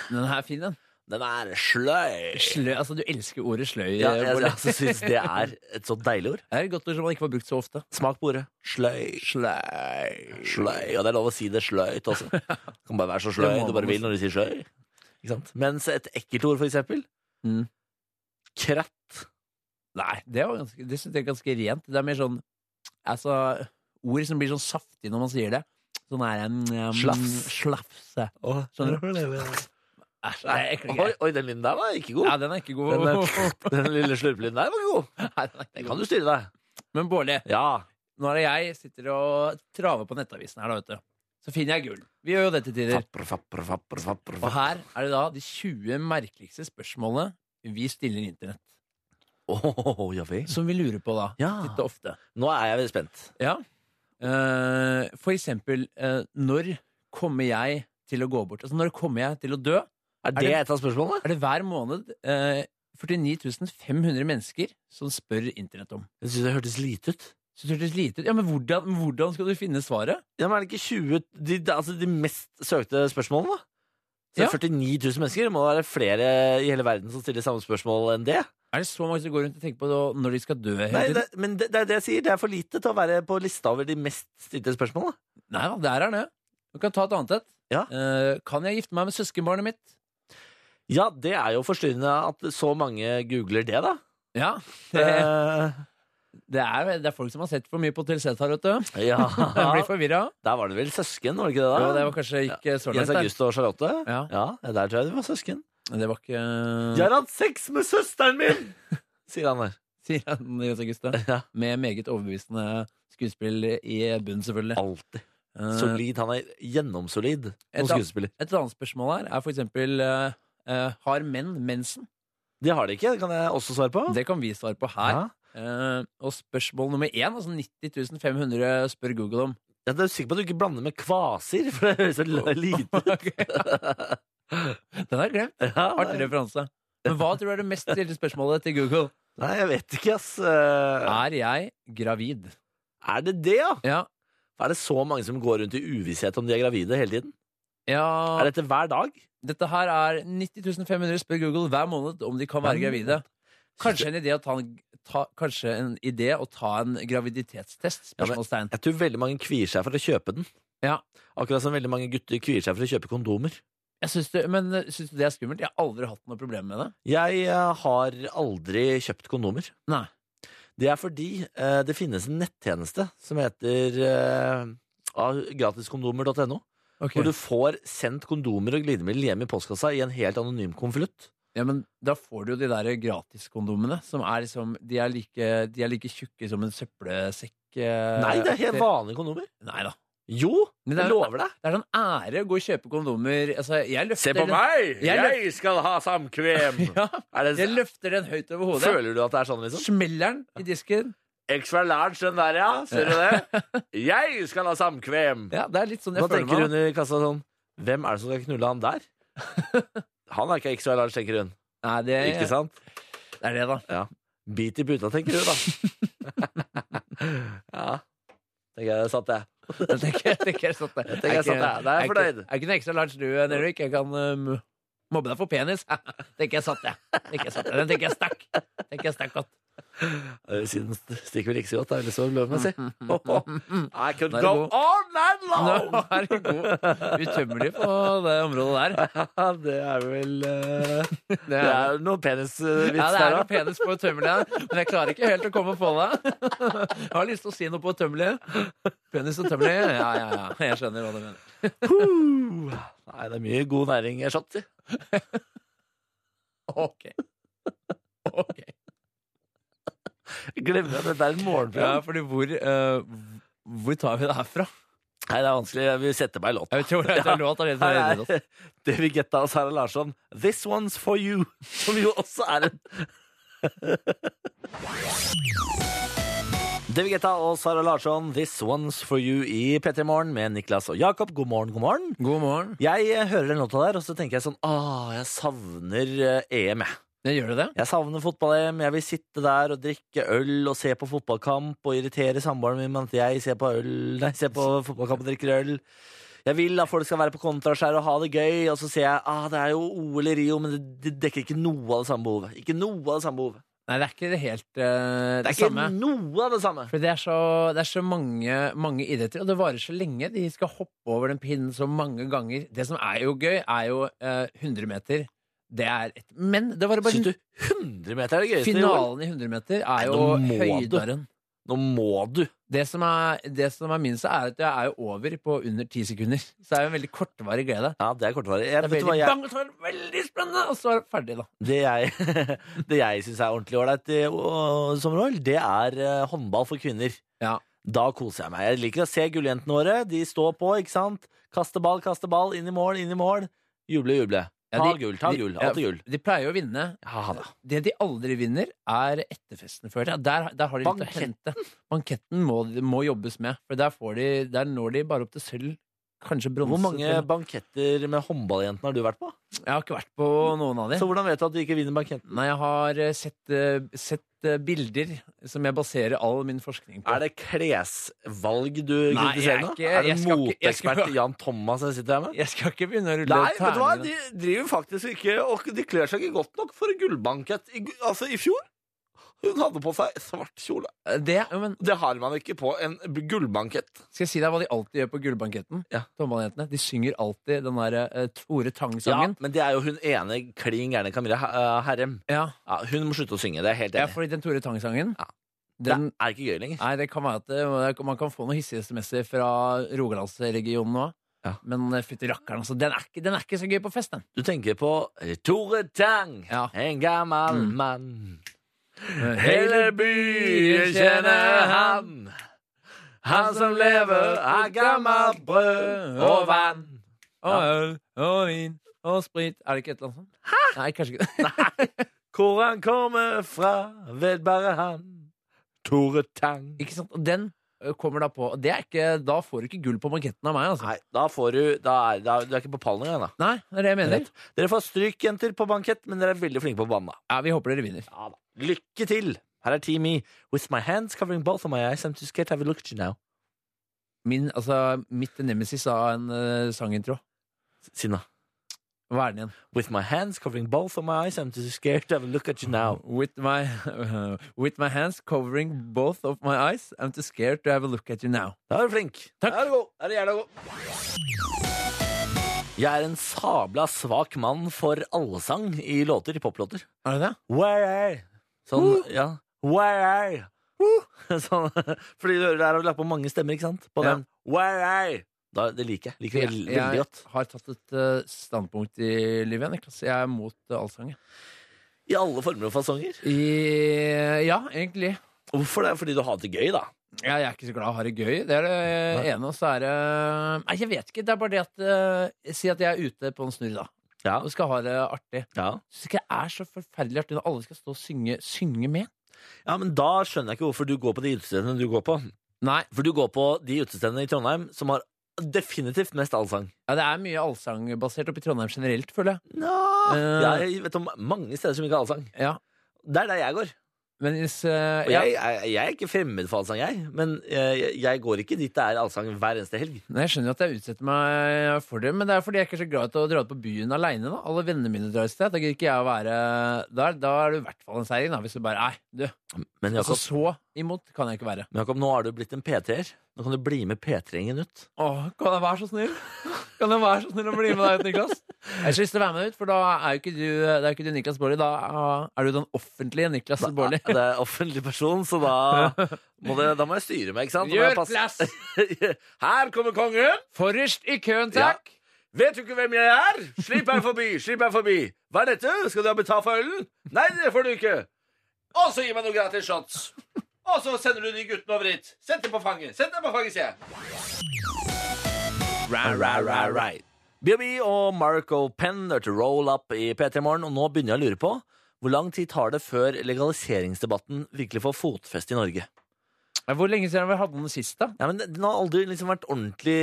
[SPEAKER 3] Den her er fin, den.
[SPEAKER 2] Den er sløy.
[SPEAKER 3] Sløy, altså, du elsker ordet sløy.
[SPEAKER 2] Ja,
[SPEAKER 3] eh,
[SPEAKER 2] jeg
[SPEAKER 3] Bård.
[SPEAKER 2] jeg altså, syns det er et så deilig ord.
[SPEAKER 3] Det er et godt ord som man ikke får brukt så ofte.
[SPEAKER 2] Smak på ordet. Sløy. Sløy. Sløy. Og det er lov å si det sløyt (laughs) også. Det kan bare være så sløy
[SPEAKER 3] Det må
[SPEAKER 2] du
[SPEAKER 3] man
[SPEAKER 2] bare vil når du sier sløy. Ikke sant? Mens et ekkelt ord, for eksempel.
[SPEAKER 3] Mm.
[SPEAKER 2] Kratt.
[SPEAKER 3] Nei, det, var ganske, det synes jeg er ganske rent. Det er mer sånn altså, ord som blir sånn saftig når man sier det. Sånn er en um,
[SPEAKER 2] Slafs.
[SPEAKER 3] Slafse. Skjønner du? Æsj, nei, ekle
[SPEAKER 2] Oi,
[SPEAKER 3] greier.
[SPEAKER 2] oi, den lyden der var ikke god.
[SPEAKER 3] Ja, oh. den er ikke god.
[SPEAKER 2] Den, der- den lille slurpelyden der var ikke god.
[SPEAKER 3] (laughs) Nei, den er
[SPEAKER 2] Den
[SPEAKER 3] ikke
[SPEAKER 2] kan
[SPEAKER 3] god.
[SPEAKER 2] du styre deg.
[SPEAKER 3] Men Bårli,
[SPEAKER 2] Ja.
[SPEAKER 3] nå er det jeg sitter og traver på nettavisen her, da, vet du. Så finner jeg gull. Vi gjør jo det til tider.
[SPEAKER 2] Fapper, fapper, fapper, fapper,
[SPEAKER 3] Og
[SPEAKER 2] fapper.
[SPEAKER 3] her er det da de 20 merkeligste spørsmålene vi stiller internett.
[SPEAKER 2] Åh, ja vel.
[SPEAKER 3] Som vi lurer på da.
[SPEAKER 2] Ja.
[SPEAKER 3] Titt og ofte.
[SPEAKER 2] Nå er jeg veldig spent.
[SPEAKER 3] Ja. Eh, for eksempel, eh, når kommer jeg til å gå bort? Altså, når kommer jeg til å dø?
[SPEAKER 2] Er det,
[SPEAKER 3] det-
[SPEAKER 2] et av spørsmålene?
[SPEAKER 3] Er det hver måned eh, 49 500 mennesker som spør internett om?
[SPEAKER 2] Jeg syns det hørtes lite ut.
[SPEAKER 3] Så det hørtes lite ut. Ja, men hvordan, men hvordan skal du finne svaret?
[SPEAKER 2] Ja, men Er det ikke 20 de, de- altså de mest søkte spørsmålene, da? Så det er 49 000 mennesker. Det må være flere i hele verden som stiller samme spørsmål enn det.
[SPEAKER 3] Er det så mange som går rundt og tenker på det når de skal dø? hele
[SPEAKER 2] Nei,
[SPEAKER 3] tiden?
[SPEAKER 2] det, men det, det er det jeg sier. Det er for lite til å være på lista over de mest stilte spørsmålene.
[SPEAKER 3] Nei da, der er det. Du kan ta et annet et.
[SPEAKER 2] Ja.
[SPEAKER 3] Eh, kan jeg gifte meg med søskenbarnet mitt?
[SPEAKER 2] Ja, det er jo forstyrrende at så mange googler det, da. (laughs)
[SPEAKER 3] Ja. Det,
[SPEAKER 2] Eh,
[SPEAKER 3] det, er, det er folk som har sett for mye på Hotel Cæsar, vet du. (laughs)
[SPEAKER 2] ja.
[SPEAKER 3] De blir forvirra.
[SPEAKER 2] Der var det vel søsken, var det ikke det? da?
[SPEAKER 3] Jo, det var kanskje ikke så langt.
[SPEAKER 2] Jens
[SPEAKER 3] der.
[SPEAKER 2] August og Charlotte?
[SPEAKER 3] Ja.
[SPEAKER 2] ja, der tror jeg de var søsken.
[SPEAKER 3] Det var ikke
[SPEAKER 2] Jeg har hatt sex med søsteren min! Sier han der.
[SPEAKER 3] (laughs) Sier han Jens Auguste.
[SPEAKER 2] (laughs) Ja.
[SPEAKER 3] Med meget overbevisende skuespill i bunnen, selvfølgelig.
[SPEAKER 2] Alltid.
[SPEAKER 3] Eh,
[SPEAKER 2] Solid. Han er gjennomsolid som
[SPEAKER 3] Et annet-
[SPEAKER 2] skuespiller.
[SPEAKER 3] Et annet spørsmål her er for eksempel eh, eh, Har menn mensen?
[SPEAKER 2] Det har de ikke, det kan jeg også svare på.
[SPEAKER 3] Det kan vi svare på her.
[SPEAKER 2] Ja.
[SPEAKER 3] Eh, og spørsmål nummer én, altså 90 500 spør Google
[SPEAKER 2] (laughs)
[SPEAKER 3] om.
[SPEAKER 2] Ja, det er sikker på at du ikke blander med kvaser, for det høres så l-
[SPEAKER 3] (laughs)
[SPEAKER 2] lite ut.
[SPEAKER 3] Den har jeg glemt.
[SPEAKER 2] Ja,
[SPEAKER 3] Artig
[SPEAKER 2] nei.
[SPEAKER 3] referanse. Men hva tror du er det mest stilte spørsmålet til Google?
[SPEAKER 2] nei, jeg vet ikke, ass. Eh,
[SPEAKER 3] Er jeg gravid?
[SPEAKER 2] Er det det, ja?
[SPEAKER 3] Ja.
[SPEAKER 2] Er det så mange som går rundt i uvisshet om de er gravide hele tiden?
[SPEAKER 3] ja
[SPEAKER 2] Er dette hver dag?
[SPEAKER 3] Dette her er 90 500 spør Google hver måned om de kan være
[SPEAKER 2] Hver
[SPEAKER 3] gravide. Kanskje
[SPEAKER 2] Synes
[SPEAKER 3] en idé å ta en, ta, kanskje en, idé å ta en graviditetstest?
[SPEAKER 2] Ja, men-
[SPEAKER 3] Spørsmålstegn.
[SPEAKER 2] Jeg tror veldig mange kvier seg for å kjøpe den.
[SPEAKER 3] Ja.
[SPEAKER 2] Akkurat som veldig mange gutter kvier seg for å kjøpe kondomer.
[SPEAKER 3] Jeg syns det, men eh, syns du det er skummelt? Jeg har aldri hatt noe problem med det.
[SPEAKER 2] Jeg eh, har aldri kjøpt kondomer.
[SPEAKER 3] Nei.
[SPEAKER 2] Det er fordi eh, det finnes en nettjeneste som heter eh, av gratiskondomer.no. Hvor
[SPEAKER 3] Hvor
[SPEAKER 2] du får sendt kondomer og glidemiddel hjem i postkassa i en helt anonym konvolutt.
[SPEAKER 3] Du, ja, men da får du jo de der gratiskondomene, som er liksom De er like, de er like tjukke som en søppelsekk. eh,
[SPEAKER 2] Nei, det er helt vanlige kondomer.
[SPEAKER 3] Nei da.
[SPEAKER 2] Jo,
[SPEAKER 3] Men det
[SPEAKER 2] jeg
[SPEAKER 3] er-
[SPEAKER 2] lover deg.
[SPEAKER 3] Det er sånn ære å gå og kjøpe kondomer. Altså, jeg løfter den-
[SPEAKER 2] meg!
[SPEAKER 3] Jeg
[SPEAKER 2] skal ha samkvem!
[SPEAKER 3] (laughs) Ja,
[SPEAKER 2] Er
[SPEAKER 3] jeg
[SPEAKER 2] det,
[SPEAKER 3] løfter den høyt over hodet.
[SPEAKER 2] føler du at det er sånn, liksom?
[SPEAKER 3] Smeller den i disken.
[SPEAKER 2] Extra large, den der, ja. Ser du (laughs) det? Jeg skal ha samkvem!
[SPEAKER 3] Ja, det er litt sånn jeg
[SPEAKER 2] Nå
[SPEAKER 3] føler meg.
[SPEAKER 2] tenker hun i kassa sånn Hvem er det som skal knulle han
[SPEAKER 3] (laughs)
[SPEAKER 2] der? Han er ikke extra large, tenker hun.
[SPEAKER 3] Nei, det,
[SPEAKER 2] Ikke sant?
[SPEAKER 3] det er det, da. (laughs)
[SPEAKER 2] Bit i puta, tenker hun, da. Ja. Tenker jeg satt, jeg.
[SPEAKER 3] Jeg tenker, jeg tenker jeg satt der.
[SPEAKER 2] Jeg tenker jeg satt der. Da er jeg
[SPEAKER 3] ikke-
[SPEAKER 2] fornøyd.
[SPEAKER 3] Jeg er ikke noe ekstra large du, Henrik. Jeg kan um, mobbe deg for penis. (laughs) tenker jeg satt der. Tenker jeg satt der. Den tenker jeg stakk. Tenker jeg stakk godt.
[SPEAKER 2] Eh, Siden stikker vel ikke så godt, da. Eller så
[SPEAKER 3] (laughs)
[SPEAKER 2] (laughs) lovmessig. I could
[SPEAKER 3] Da er det
[SPEAKER 2] go
[SPEAKER 3] god.
[SPEAKER 2] on and
[SPEAKER 3] Nå (laughs)
[SPEAKER 2] long!
[SPEAKER 3] er du god. Utømmelig på det området der.
[SPEAKER 2] det er vel eh,
[SPEAKER 3] Det
[SPEAKER 2] Det
[SPEAKER 3] er,
[SPEAKER 2] er noe penisvits
[SPEAKER 3] ja, det er
[SPEAKER 2] der, da.
[SPEAKER 3] noe penis på tømmelig her, men jeg klarer ikke helt å komme på det. Jeg har lyst til å si noe på tømmelig. Penis og tømmelig. Ja, ja, ja. Jeg skjønner hva du mener.
[SPEAKER 2] Nei, det er mye god næring jeg shot i.
[SPEAKER 3] Ok. Ok.
[SPEAKER 2] Glemmer at dette er en
[SPEAKER 3] Ja,
[SPEAKER 2] morgenprogram.
[SPEAKER 3] fordi hvor eh, Hvor tar vi det herfra?
[SPEAKER 2] Nei, det er vanskelig. Jeg vil sette meg i låt.
[SPEAKER 3] Jeg sånn tror (laughs) det
[SPEAKER 2] Ja.
[SPEAKER 3] er låt allerede.
[SPEAKER 2] Her er (laughs) David Guetta og Sara Larsson. 'This One's For You', (laughs) som jo også er en (laughs) David Guetta og Sara Larsson, 'This One's For You' i P3 Morgen med Niklas og Jakob. God morgen, god morgen.
[SPEAKER 3] God morgen.
[SPEAKER 2] Jeg eh, hører den låta der, og så tenker jeg sånn ah, jeg savner eh, EM, jeg.
[SPEAKER 3] Ja, Gjør du det?
[SPEAKER 2] Jeg savner fotball-EM. Jeg vil sitte der og drikke øl og se på fotballkamp og irritere samboeren min med at jeg ser på, øl, nei, ser på fotballkamp og drikker øl. Jeg vil at folk skal være på kontraskjær og ha det gøy, og så ser jeg ah, det er jo OL i Rio, men det, det dekker ikke noe av det samme behovet. Ikke noe av det samme behovet.
[SPEAKER 3] Nei, det er ikke det helt eh, det,
[SPEAKER 2] Det er ikke
[SPEAKER 3] samme.
[SPEAKER 2] noe av det samme.
[SPEAKER 3] For det er så, det er så mange, mange idretter, og det varer så lenge. De skal hoppe over den pinnen så mange ganger. Det som er jo gøy, er jo eh, 100 meter. Det er et, men det var bare
[SPEAKER 2] Syns du 100 meter er det gøyeste i OL?
[SPEAKER 3] finalen i 100 meter er
[SPEAKER 2] Nei,
[SPEAKER 3] jo
[SPEAKER 2] nå må du.
[SPEAKER 3] høydaren.
[SPEAKER 2] Nå må du.
[SPEAKER 3] Det som er, det som er minst, er at jeg er jo over på under ti sekunder. Så det er jo en veldig kortvarig glede.
[SPEAKER 2] Ja, det er kortvarig. Jeg,
[SPEAKER 3] Det er
[SPEAKER 2] vet du hva
[SPEAKER 3] veldig
[SPEAKER 2] jeg
[SPEAKER 3] bang, og så er det veldig spennende, og så er det ferdig, da.
[SPEAKER 2] Det jeg, (laughs) det jeg syns er ordentlig ålreit i å- som roll, det er eh, håndball for kvinner.
[SPEAKER 3] Ja.
[SPEAKER 2] Da koser jeg meg. Jeg liker å se gulljentene våre. De står på, ikke sant? Kaste ball, kaste ball, inn i mål, inn i mål. Juble, juble.
[SPEAKER 3] Ja,
[SPEAKER 2] Ta
[SPEAKER 3] de-
[SPEAKER 2] gull, ta
[SPEAKER 3] de-
[SPEAKER 2] gull.
[SPEAKER 3] ja,
[SPEAKER 2] Alltid gull.
[SPEAKER 3] De pleier jo å vinne.
[SPEAKER 2] Ja da.
[SPEAKER 3] Det de aldri vinner, er etterfesten før. Ja, der, der har de litt å hente. Banketten må, må jobbes med, for der, får de, der når de bare opp til sølv. Kanskje bronse.
[SPEAKER 2] Hvor mange
[SPEAKER 3] til og med.
[SPEAKER 2] banketter med håndballjentene har du vært på?
[SPEAKER 3] Jeg har ikke vært på noen av de.
[SPEAKER 2] Så hvordan vet du at du ikke vinner banketten?
[SPEAKER 3] Nei, jeg har eh, sett, eh, sett eh, bilder som jeg baserer all min forskning på.
[SPEAKER 2] Er det klesvalg du
[SPEAKER 3] Nei, jeg er
[SPEAKER 2] kritiserer nå?
[SPEAKER 3] ikke-
[SPEAKER 2] Er det
[SPEAKER 3] jeg skal ikke- jeg skal
[SPEAKER 2] moteekspert
[SPEAKER 3] ikke-
[SPEAKER 2] Jan Thomas jeg sitter her med?
[SPEAKER 3] Jeg skal ikke begynne å rulle
[SPEAKER 2] Nei, vet du hva? De
[SPEAKER 3] terningene.
[SPEAKER 2] driver faktisk ikke Og de kler seg ikke godt nok for en gullbankett. I, gu- altså, i fjor Hun hadde på seg svart kjole.
[SPEAKER 3] Det, jo, men,
[SPEAKER 2] Det har man ikke på en b- gullbankett.
[SPEAKER 3] skal jeg si deg hva de alltid gjør på gullbanketten?
[SPEAKER 2] Ja.
[SPEAKER 3] Håndballjentene. De synger alltid den derre eh, Tore Tang-sangen.
[SPEAKER 2] men det er jo hun ene klin gærne Camilla He- eh, Herrem.
[SPEAKER 3] Ja.
[SPEAKER 2] Ja, hun må slutte å synge. Det er jeg helt
[SPEAKER 3] ja,
[SPEAKER 2] enig. i.
[SPEAKER 3] fordi den Tore Tang-sangen,
[SPEAKER 2] Ja.
[SPEAKER 3] den,
[SPEAKER 2] det er ikke gøy lenger.
[SPEAKER 3] Nei, det kan være at det, man kan få noen hissige SMS-er fra Rogalandsregionen òg.
[SPEAKER 2] Ja.
[SPEAKER 3] Men eh, fytti rakkeren, altså. Den er, ikke, den er ikke så gøy på
[SPEAKER 2] (laughs)
[SPEAKER 3] fest, den.
[SPEAKER 2] Du tenker på eh, Tore Tang,
[SPEAKER 3] Ja.
[SPEAKER 2] en gammel
[SPEAKER 3] Mm.
[SPEAKER 2] mann.
[SPEAKER 3] Eh,
[SPEAKER 2] Hele byen kjenner han. Han som lever av gammelt brød og vann.
[SPEAKER 3] Og øl og vin og sprit. Er det ikke et eller annet sånt? Hæ? Nei, kanskje ikke.
[SPEAKER 2] Hvor han kommer fra, vet bare han. Tore Tang.
[SPEAKER 3] (laughs) ikke sant? Og den eh, kommer da på. og Det er ikke, da får du ikke gull på banketten av meg, altså.
[SPEAKER 2] Nei, da får du Da er, da, du er ikke på pallen engang, da.
[SPEAKER 3] Nei, det er det jeg mener.
[SPEAKER 2] Rett. Dere får stryk, jenter, på bankett, men dere er veldig flinke på banen, da.
[SPEAKER 3] Ja, vi håper dere vinner.
[SPEAKER 2] Ja, da. Lykke til! Her er Team E. With my hands covering both of my eyes, I'm too scared to have a look at you now.
[SPEAKER 3] Min, altså, mitt nemesis av en eh, sangintro.
[SPEAKER 2] Sinna.
[SPEAKER 3] Hva er den igjen?
[SPEAKER 2] With my hands covering both of my eyes, I'm too scared to have a look at you now.
[SPEAKER 3] With my, (laughs) with my hands covering both of my eyes, I'm too scared to have a look at you now.
[SPEAKER 2] Da er du flink.
[SPEAKER 3] Takk.
[SPEAKER 2] Da er du god. Da er du jævla god. Jeg er en sabla svak mann for allsang i låter, i poplåter.
[SPEAKER 3] Er det det?
[SPEAKER 2] Where are Sånn, ja. Where are (laughs) Sånn, fordi du hører der og lagt på mange stemmer, ikke sant? På
[SPEAKER 3] Ja.
[SPEAKER 2] den Where are da, Det liker jeg. Liker det veld- veldig godt.
[SPEAKER 3] Jeg har tatt et eh, standpunkt i livet, Niklas. Jeg er mot uh, allsang. jeg.
[SPEAKER 2] I alle former og fasonger.
[SPEAKER 3] I, ja, egentlig.
[SPEAKER 2] Hvorfor det? Fordi du har det gøy, da.
[SPEAKER 3] Ja, jeg er ikke så glad i å ha det gøy. Det er det
[SPEAKER 2] Nei.
[SPEAKER 3] ene. Og så er det Nei, jeg vet ikke. Det er bare det at eh, Si at jeg er ute på en snurr, da.
[SPEAKER 2] Ja.
[SPEAKER 3] Og skal ha det artig.
[SPEAKER 2] Ja.
[SPEAKER 3] Jeg syns ikke det er så forferdelig artig når alle skal stå og synge, synge med.
[SPEAKER 2] ja, men da skjønner jeg ikke hvorfor du går på de utestedene du går på.
[SPEAKER 3] Nei.
[SPEAKER 2] For du går på de utestedene i Trondheim som har definitivt mest allsang.
[SPEAKER 3] Ja, det er mye allsangbasert oppe i Trondheim generelt, føler jeg. Eh.
[SPEAKER 2] Ja, jeg vet om mange steder som ikke har allsang.
[SPEAKER 3] Ja.
[SPEAKER 2] Det er der jeg går.
[SPEAKER 3] Men hvis eh,
[SPEAKER 2] Og
[SPEAKER 3] ja.
[SPEAKER 2] jeg, jeg, jeg er ikke fremmed for allsang, jeg. Men eh, jeg, jeg går ikke dit det er allsang hver eneste helg.
[SPEAKER 3] Nei, Jeg skjønner at jeg utsetter meg for det, men det er fordi jeg ikke er så glad til å dra ut på byen aleine. da. Alle vennene mine drar et sted. Da gidder ikke jeg å være der. Da er du i hvert fall en seier, da, hvis du bare Nei, du.
[SPEAKER 2] Men
[SPEAKER 3] Altså,
[SPEAKER 2] Jakob,
[SPEAKER 3] så imot kan jeg ikke være.
[SPEAKER 2] men Jakob nå har du blitt en P3-er. Nå kan du bli med P3-gjengen
[SPEAKER 3] (laughs)
[SPEAKER 2] ut.
[SPEAKER 3] Åh, kan jeg være så snill? Kan jeg være så snill å bli med deg ut, Niklas? Jeg har ikke lyst til å være med ut, for da er jo ikke du, det er jo ikke du Niklas Baarli. Da ah, er du den offentlige Niklas
[SPEAKER 2] Da-
[SPEAKER 3] (laughs) Baarli.
[SPEAKER 2] Det er offentlig person, så da må, det, da må jeg styre meg, ikke sant? Da må jeg
[SPEAKER 3] Gjør
[SPEAKER 2] passe-
[SPEAKER 3] plass!
[SPEAKER 2] (laughs) Her kommer kongen!
[SPEAKER 3] Forrest i køen,
[SPEAKER 2] Ja.
[SPEAKER 3] takk!
[SPEAKER 2] Vet du ikke hvem jeg er? Slipp meg forbi! Slipp meg forbi! Hva er dette? Skal du ha betalt for ølen? Nei, det får du ikke! Og så gi meg noen gratis shots! Og så sender du de guttene over hit. Sett dem på fanget. Sett dem på fanget, sier jeg. Right, right, right, right. BB og Marco Penn hørte Roll Up i P3 Morgen, og nå begynner jeg å lure på hvor lang tid tar det før legaliseringsdebatten virkelig får fotfeste i Norge?
[SPEAKER 3] Hvor lenge siden har vi hatt den sist, da?
[SPEAKER 2] Ja, men Den har aldri liksom vært ordentlig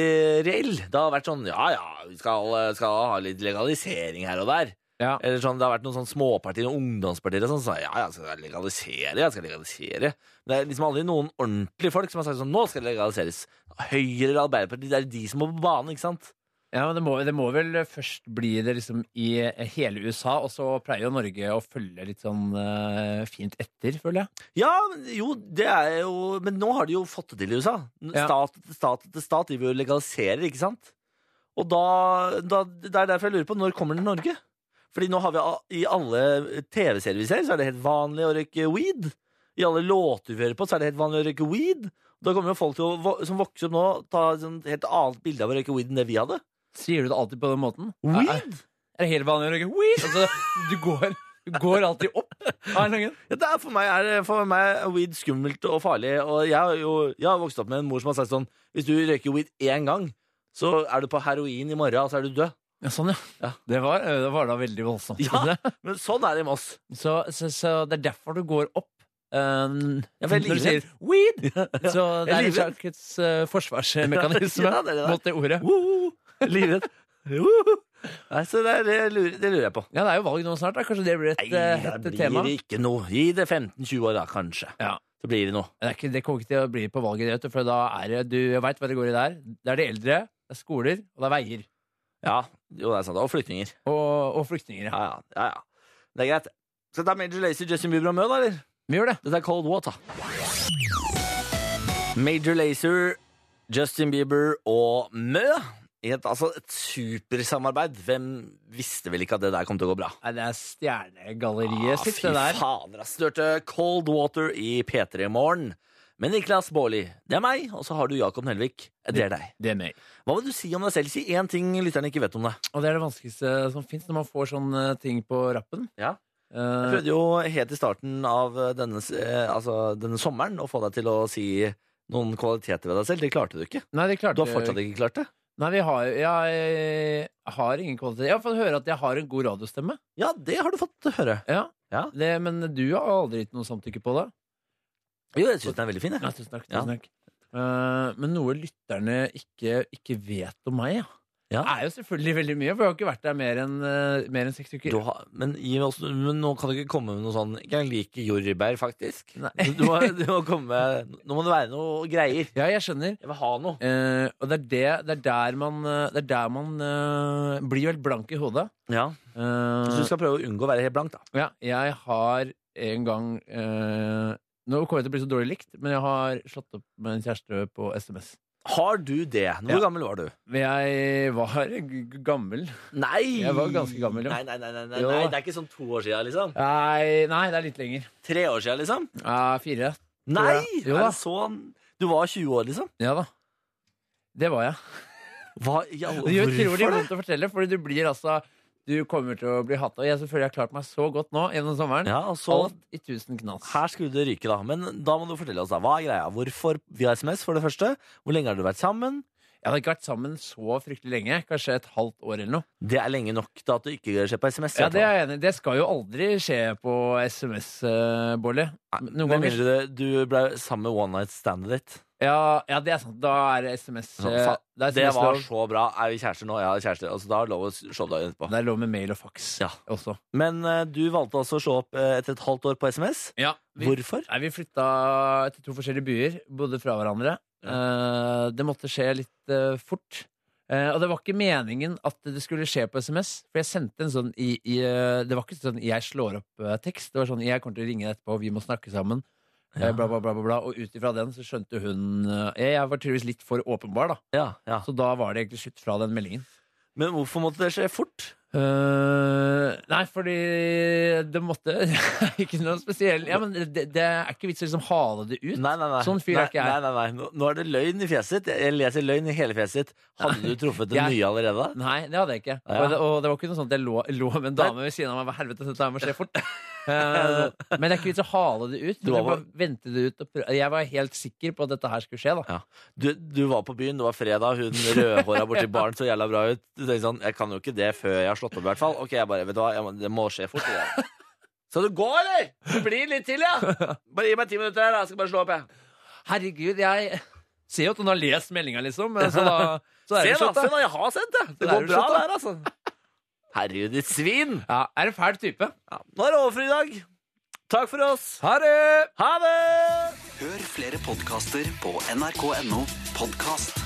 [SPEAKER 2] reell. Det har vært sånn ja ja, vi skal, skal ha litt legalisering her og der.
[SPEAKER 3] Ja.
[SPEAKER 2] Eller sånn, Det har vært noen sånn småpartier og ungdomspartier og sånn, som sa ja, jeg skal legalisere. jeg skal legalisere. Men det er liksom aldri noen ordentlige folk som har sagt sånn nå skal det legaliseres. Høyre eller Arbeiderpartiet, det er de som må på banen, ikke sant?
[SPEAKER 3] Ja, men det må, det må vel først bli det liksom i hele USA, og så pleier jo Norge å følge litt sånn eh, fint etter, føler jeg.
[SPEAKER 2] Ja, men jo, det er jo Men nå har de jo fått det til i USA.
[SPEAKER 3] Ja.
[SPEAKER 2] Stat etter stat etter stat driver jo og legaliserer, ikke sant? Og da, da Det er derfor jeg lurer på når kommer det til Norge? Fordi nå har vi a- i alle TV-serier vi ser, så er det helt vanlig å røyke weed. I alle låter vi hører på, så er det helt vanlig å røyke weed. Da kommer jo folk til å, vo- som vokser opp nå, ta et sånt helt annet bilde av å røyke weed enn det vi hadde.
[SPEAKER 3] Sier du det alltid på den måten? Er,
[SPEAKER 2] Weed?
[SPEAKER 3] er det helt vanlig å røyke weed? Altså, du går, du går alltid opp av en langen.
[SPEAKER 2] Ja, det er for meg er det- for meg er weed skummelt og farlig. Og jeg har jo jeg har vokst opp med en mor som har sagt sånn Hvis du røyker weed én gang, så er du på heroin i morgen, og så er du død.
[SPEAKER 3] Ja, sånn, ja. Det, var,
[SPEAKER 2] eh,
[SPEAKER 3] det var da veldig voldsomt.
[SPEAKER 2] Ja. Men sånn er det i Moss.
[SPEAKER 3] Så, så, så det er derfor du går opp. Um,
[SPEAKER 2] Ja, for jeg er
[SPEAKER 3] når du
[SPEAKER 2] livredd.
[SPEAKER 3] sier weed! Så
[SPEAKER 2] Jeg
[SPEAKER 3] det er en
[SPEAKER 2] er livredd.
[SPEAKER 3] slags eh, forsvarsmekanisme
[SPEAKER 2] (laughs) Ja, det er det der.
[SPEAKER 3] mot det ordet.
[SPEAKER 2] Woho! Livredd. Woho! Nei, så det, er, det, lurer, det lurer jeg på.
[SPEAKER 3] Ja, det er jo valg nå snart, da. Kanskje det blir et eh,
[SPEAKER 2] Nei,
[SPEAKER 3] hett
[SPEAKER 2] det
[SPEAKER 3] tema.
[SPEAKER 2] blir ikke noe. Gi det 15-20 år, da, kanskje.
[SPEAKER 3] Ja.
[SPEAKER 2] Så blir det noe.
[SPEAKER 3] Det, er ikke, det kommer ikke til å bli på valget, vet du, for da er det, du veit hva det går i der. Det er de eldre, det er skoler, og det er veier.
[SPEAKER 2] Ja, jo, det er sant. Og flyktninger.
[SPEAKER 3] Og, og flyktninger. Ja.
[SPEAKER 2] Ja, ja. ja, ja. Det er greit. Skal vi ta Major Lazer, Justin Bieber og Mø, da, eller?
[SPEAKER 3] Vi gjør det.
[SPEAKER 2] Dette er Cold Water. Major Lazer, Justin Bieber og Mø. I et, altså et supersamarbeid. Hvem visste vel ikke at det der kom til å gå bra? Ah,
[SPEAKER 3] Nei, det er stjernegalleriet sitt,
[SPEAKER 2] fy
[SPEAKER 3] det der.
[SPEAKER 2] fader, ass. Du hørte Cold Water i P3 Morgen. Men Niklas Baarli, det er meg, og så har du Jakob Nelvik. Det er deg.
[SPEAKER 3] Det er meg.
[SPEAKER 2] Hva vil du si om deg selv? Si én ting lytterne ikke vet om deg.
[SPEAKER 3] Og det er det vanskeligste som fins når man får sånne ting på rappen.
[SPEAKER 2] Ja. Jeg
[SPEAKER 3] Eh,
[SPEAKER 2] prøvde jo helt i starten av denne, s- eh, altså, denne sommeren å få deg til å si noen kvaliteter ved deg selv. Det klarte du ikke.
[SPEAKER 3] nei, det klarte
[SPEAKER 2] Du har fortsatt ikke klart det?
[SPEAKER 3] Nei, vi har, jeg har ingen kvalitet. Jeg har fått høre at jeg har en god radiostemme.
[SPEAKER 2] Ja, det har du fått høre.
[SPEAKER 3] Ja.
[SPEAKER 2] Ja.
[SPEAKER 3] Det, men du har aldri gitt noe samtykke på det.
[SPEAKER 2] Jo, jeg syns den er veldig fin.
[SPEAKER 3] Ja,
[SPEAKER 2] Jeg.
[SPEAKER 3] tusen takk.
[SPEAKER 2] Ja.
[SPEAKER 3] Tusen takk. Eh, men noe lytterne ikke, ikke vet om meg, ja.
[SPEAKER 2] Ja.
[SPEAKER 3] Det er jo selvfølgelig veldig mye, for jeg har ikke vært der mer enn eh, mer enn seks uker.
[SPEAKER 2] Du har, men, gi meg også, men nå kan du ikke komme med noe sånn Jeg liker jordbær, faktisk.
[SPEAKER 3] Nei.
[SPEAKER 2] Du (laughs) må, du må komme med Nå må det være noe greier.
[SPEAKER 3] Ja, jeg skjønner.
[SPEAKER 2] Jeg vil ha noe.
[SPEAKER 3] Eh, og det er, det, det er der man, eh, det er der man eh, blir helt blank i hodet.
[SPEAKER 2] Ja,
[SPEAKER 3] Eh,
[SPEAKER 2] Så du skal prøve å unngå å være helt blank, da.
[SPEAKER 3] ja, jeg har en gang eh, Nå kommer jeg til å bli så dårlig likt, men jeg har slått opp med en kjæreste på SMS.
[SPEAKER 2] Har du det? Hvor
[SPEAKER 3] Ja.
[SPEAKER 2] gammel var du?
[SPEAKER 3] Men jeg var g- g- gammel.
[SPEAKER 2] Nei!
[SPEAKER 3] Jeg var ganske gammel, jo.
[SPEAKER 2] Nei, nei, nei, nei, nei,
[SPEAKER 3] Jo.
[SPEAKER 2] nei. Det er ikke sånn to år sia, liksom.
[SPEAKER 3] Nei, nei, det er litt lenger.
[SPEAKER 2] Tre år sia, liksom.
[SPEAKER 3] Ja, fire.
[SPEAKER 2] Nei!
[SPEAKER 3] jeg. Jo
[SPEAKER 2] er
[SPEAKER 3] da.
[SPEAKER 2] det sånn? Du var 20 år, liksom?
[SPEAKER 3] Ja da. Det var jeg.
[SPEAKER 2] Hva, i alle-
[SPEAKER 3] Det gjør
[SPEAKER 2] hvorfor
[SPEAKER 3] utrolig
[SPEAKER 2] det?
[SPEAKER 3] vondt å fortelle, fordi du blir altså Du kommer til å bli hata. Og jeg selvfølgelig har klart meg så godt nå gjennom sommeren.
[SPEAKER 2] Ja, og så
[SPEAKER 3] Alt i tusen knas.
[SPEAKER 2] Her skulle det ryke, da. Men da må du fortelle oss da, hva er greia? Hvorfor via SMS, for det første? Hvor lenge har dere vært sammen?
[SPEAKER 3] Jeg hadde ikke vært sammen så fryktelig lenge. Kanskje et halvt år eller noe.
[SPEAKER 2] Det er lenge nok til at du ikke ser på SMS.
[SPEAKER 3] Ja, Det er jeg enig i. Det skal jo aldri skje på SMS, uh, Bolly. Noen
[SPEAKER 2] Med
[SPEAKER 3] ganger
[SPEAKER 2] mindre det- du ble sammen med one night standet ditt.
[SPEAKER 3] ja, ja, det er sant. Da er det SMS.
[SPEAKER 2] Sånn,
[SPEAKER 3] eh,
[SPEAKER 2] fa-
[SPEAKER 3] det, er
[SPEAKER 2] det
[SPEAKER 3] SMS
[SPEAKER 2] var
[SPEAKER 3] -lov.
[SPEAKER 2] så bra. Er vi kjærester nå? Ja, kjærester. Altså, da er det lov å slå deg inn etterpå.
[SPEAKER 3] det er lov med mail og fax
[SPEAKER 2] Ja.
[SPEAKER 3] også.
[SPEAKER 2] Men eh, du valgte altså å slå opp eh, etter et halvt år på SMS.
[SPEAKER 3] Ja, vi,
[SPEAKER 2] Hvorfor?
[SPEAKER 3] Nei, vi flytta til to forskjellige byer, bodde fra hverandre. Eh, det måtte skje litt eh, fort. Eh, og det var ikke meningen at det skulle skje på SMS. For jeg sendte en sånn i, i, eh, Det var ikke sånn 'jeg slår opp'-tekst. Det var sånn 'jeg kommer til å ringe deg etterpå, vi må snakke sammen'. eh,
[SPEAKER 2] Ja.
[SPEAKER 3] Bla, bla, bla, bla, bla. Og ut ifra den så skjønte hun eh, Jeg jeg var tydeligvis litt for åpenbar, da.
[SPEAKER 2] Ja, ja.
[SPEAKER 3] Så da var det egentlig slutt fra den meldingen.
[SPEAKER 2] Men hvorfor måtte det skje fort?
[SPEAKER 3] Eh, nei, fordi det måtte (laughs) Ikke noe spesielt. Ja, men det, det er ikke vits i å liksom hale det ut.
[SPEAKER 2] Nei, nei, nei.
[SPEAKER 3] Sånn fyr er
[SPEAKER 2] nei,
[SPEAKER 3] ikke jeg.
[SPEAKER 2] Nei, nei, nei. Nå- Nå er det løgn i fjeset ditt. Jeg leser løgn i hele fjeset ditt. Hadde du truffet den
[SPEAKER 3] Jeg-
[SPEAKER 2] nye allerede da?
[SPEAKER 3] Nei, det hadde jeg ikke.
[SPEAKER 2] Ja. (laughs)
[SPEAKER 3] Og, det, og det var ikke noe sånn at jeg lå, lå med en dame ved siden av meg. Hva helvete, dette her må skje fort. Eh, men det er ikke vits å hale det ut. Du
[SPEAKER 2] Du
[SPEAKER 3] kan
[SPEAKER 2] var-
[SPEAKER 3] bare vente det ut og prøve. Jeg var helt sikker på at dette her skulle skje. da
[SPEAKER 2] Ja. Du, du var på byen, det var fredag, hun rødhåra borti baren så jævla bra ut. Du tenkte sånn, jeg kan jo ikke det før jeg har slått opp, i hvert fall. Ok, jeg bare, vet du hva, jeg må, det må skje fort. Jeg. Så du går, eller? Du blir litt til, ja? Bare gi meg ti minutter her, da. jeg skal bare slå opp, jeg.
[SPEAKER 3] Herregud, jeg ser jo at hun har lest meldinga, liksom. eh, Så da så er
[SPEAKER 2] Se,
[SPEAKER 3] det
[SPEAKER 2] da,
[SPEAKER 3] slutt,
[SPEAKER 2] se
[SPEAKER 3] da.
[SPEAKER 2] da, jeg har sendt det.
[SPEAKER 3] Det
[SPEAKER 2] Det
[SPEAKER 3] er
[SPEAKER 2] går
[SPEAKER 3] jo
[SPEAKER 2] bra,
[SPEAKER 3] slutt,
[SPEAKER 2] det
[SPEAKER 3] da.
[SPEAKER 2] her, altså. Herregud, ditt svin.
[SPEAKER 3] Ja, er en fæl type.
[SPEAKER 2] Ja. Nå er det over for i dag. Takk for oss.
[SPEAKER 3] Ha det!
[SPEAKER 2] Ha det!
[SPEAKER 1] Hør flere podkaster på nrk.no podkast.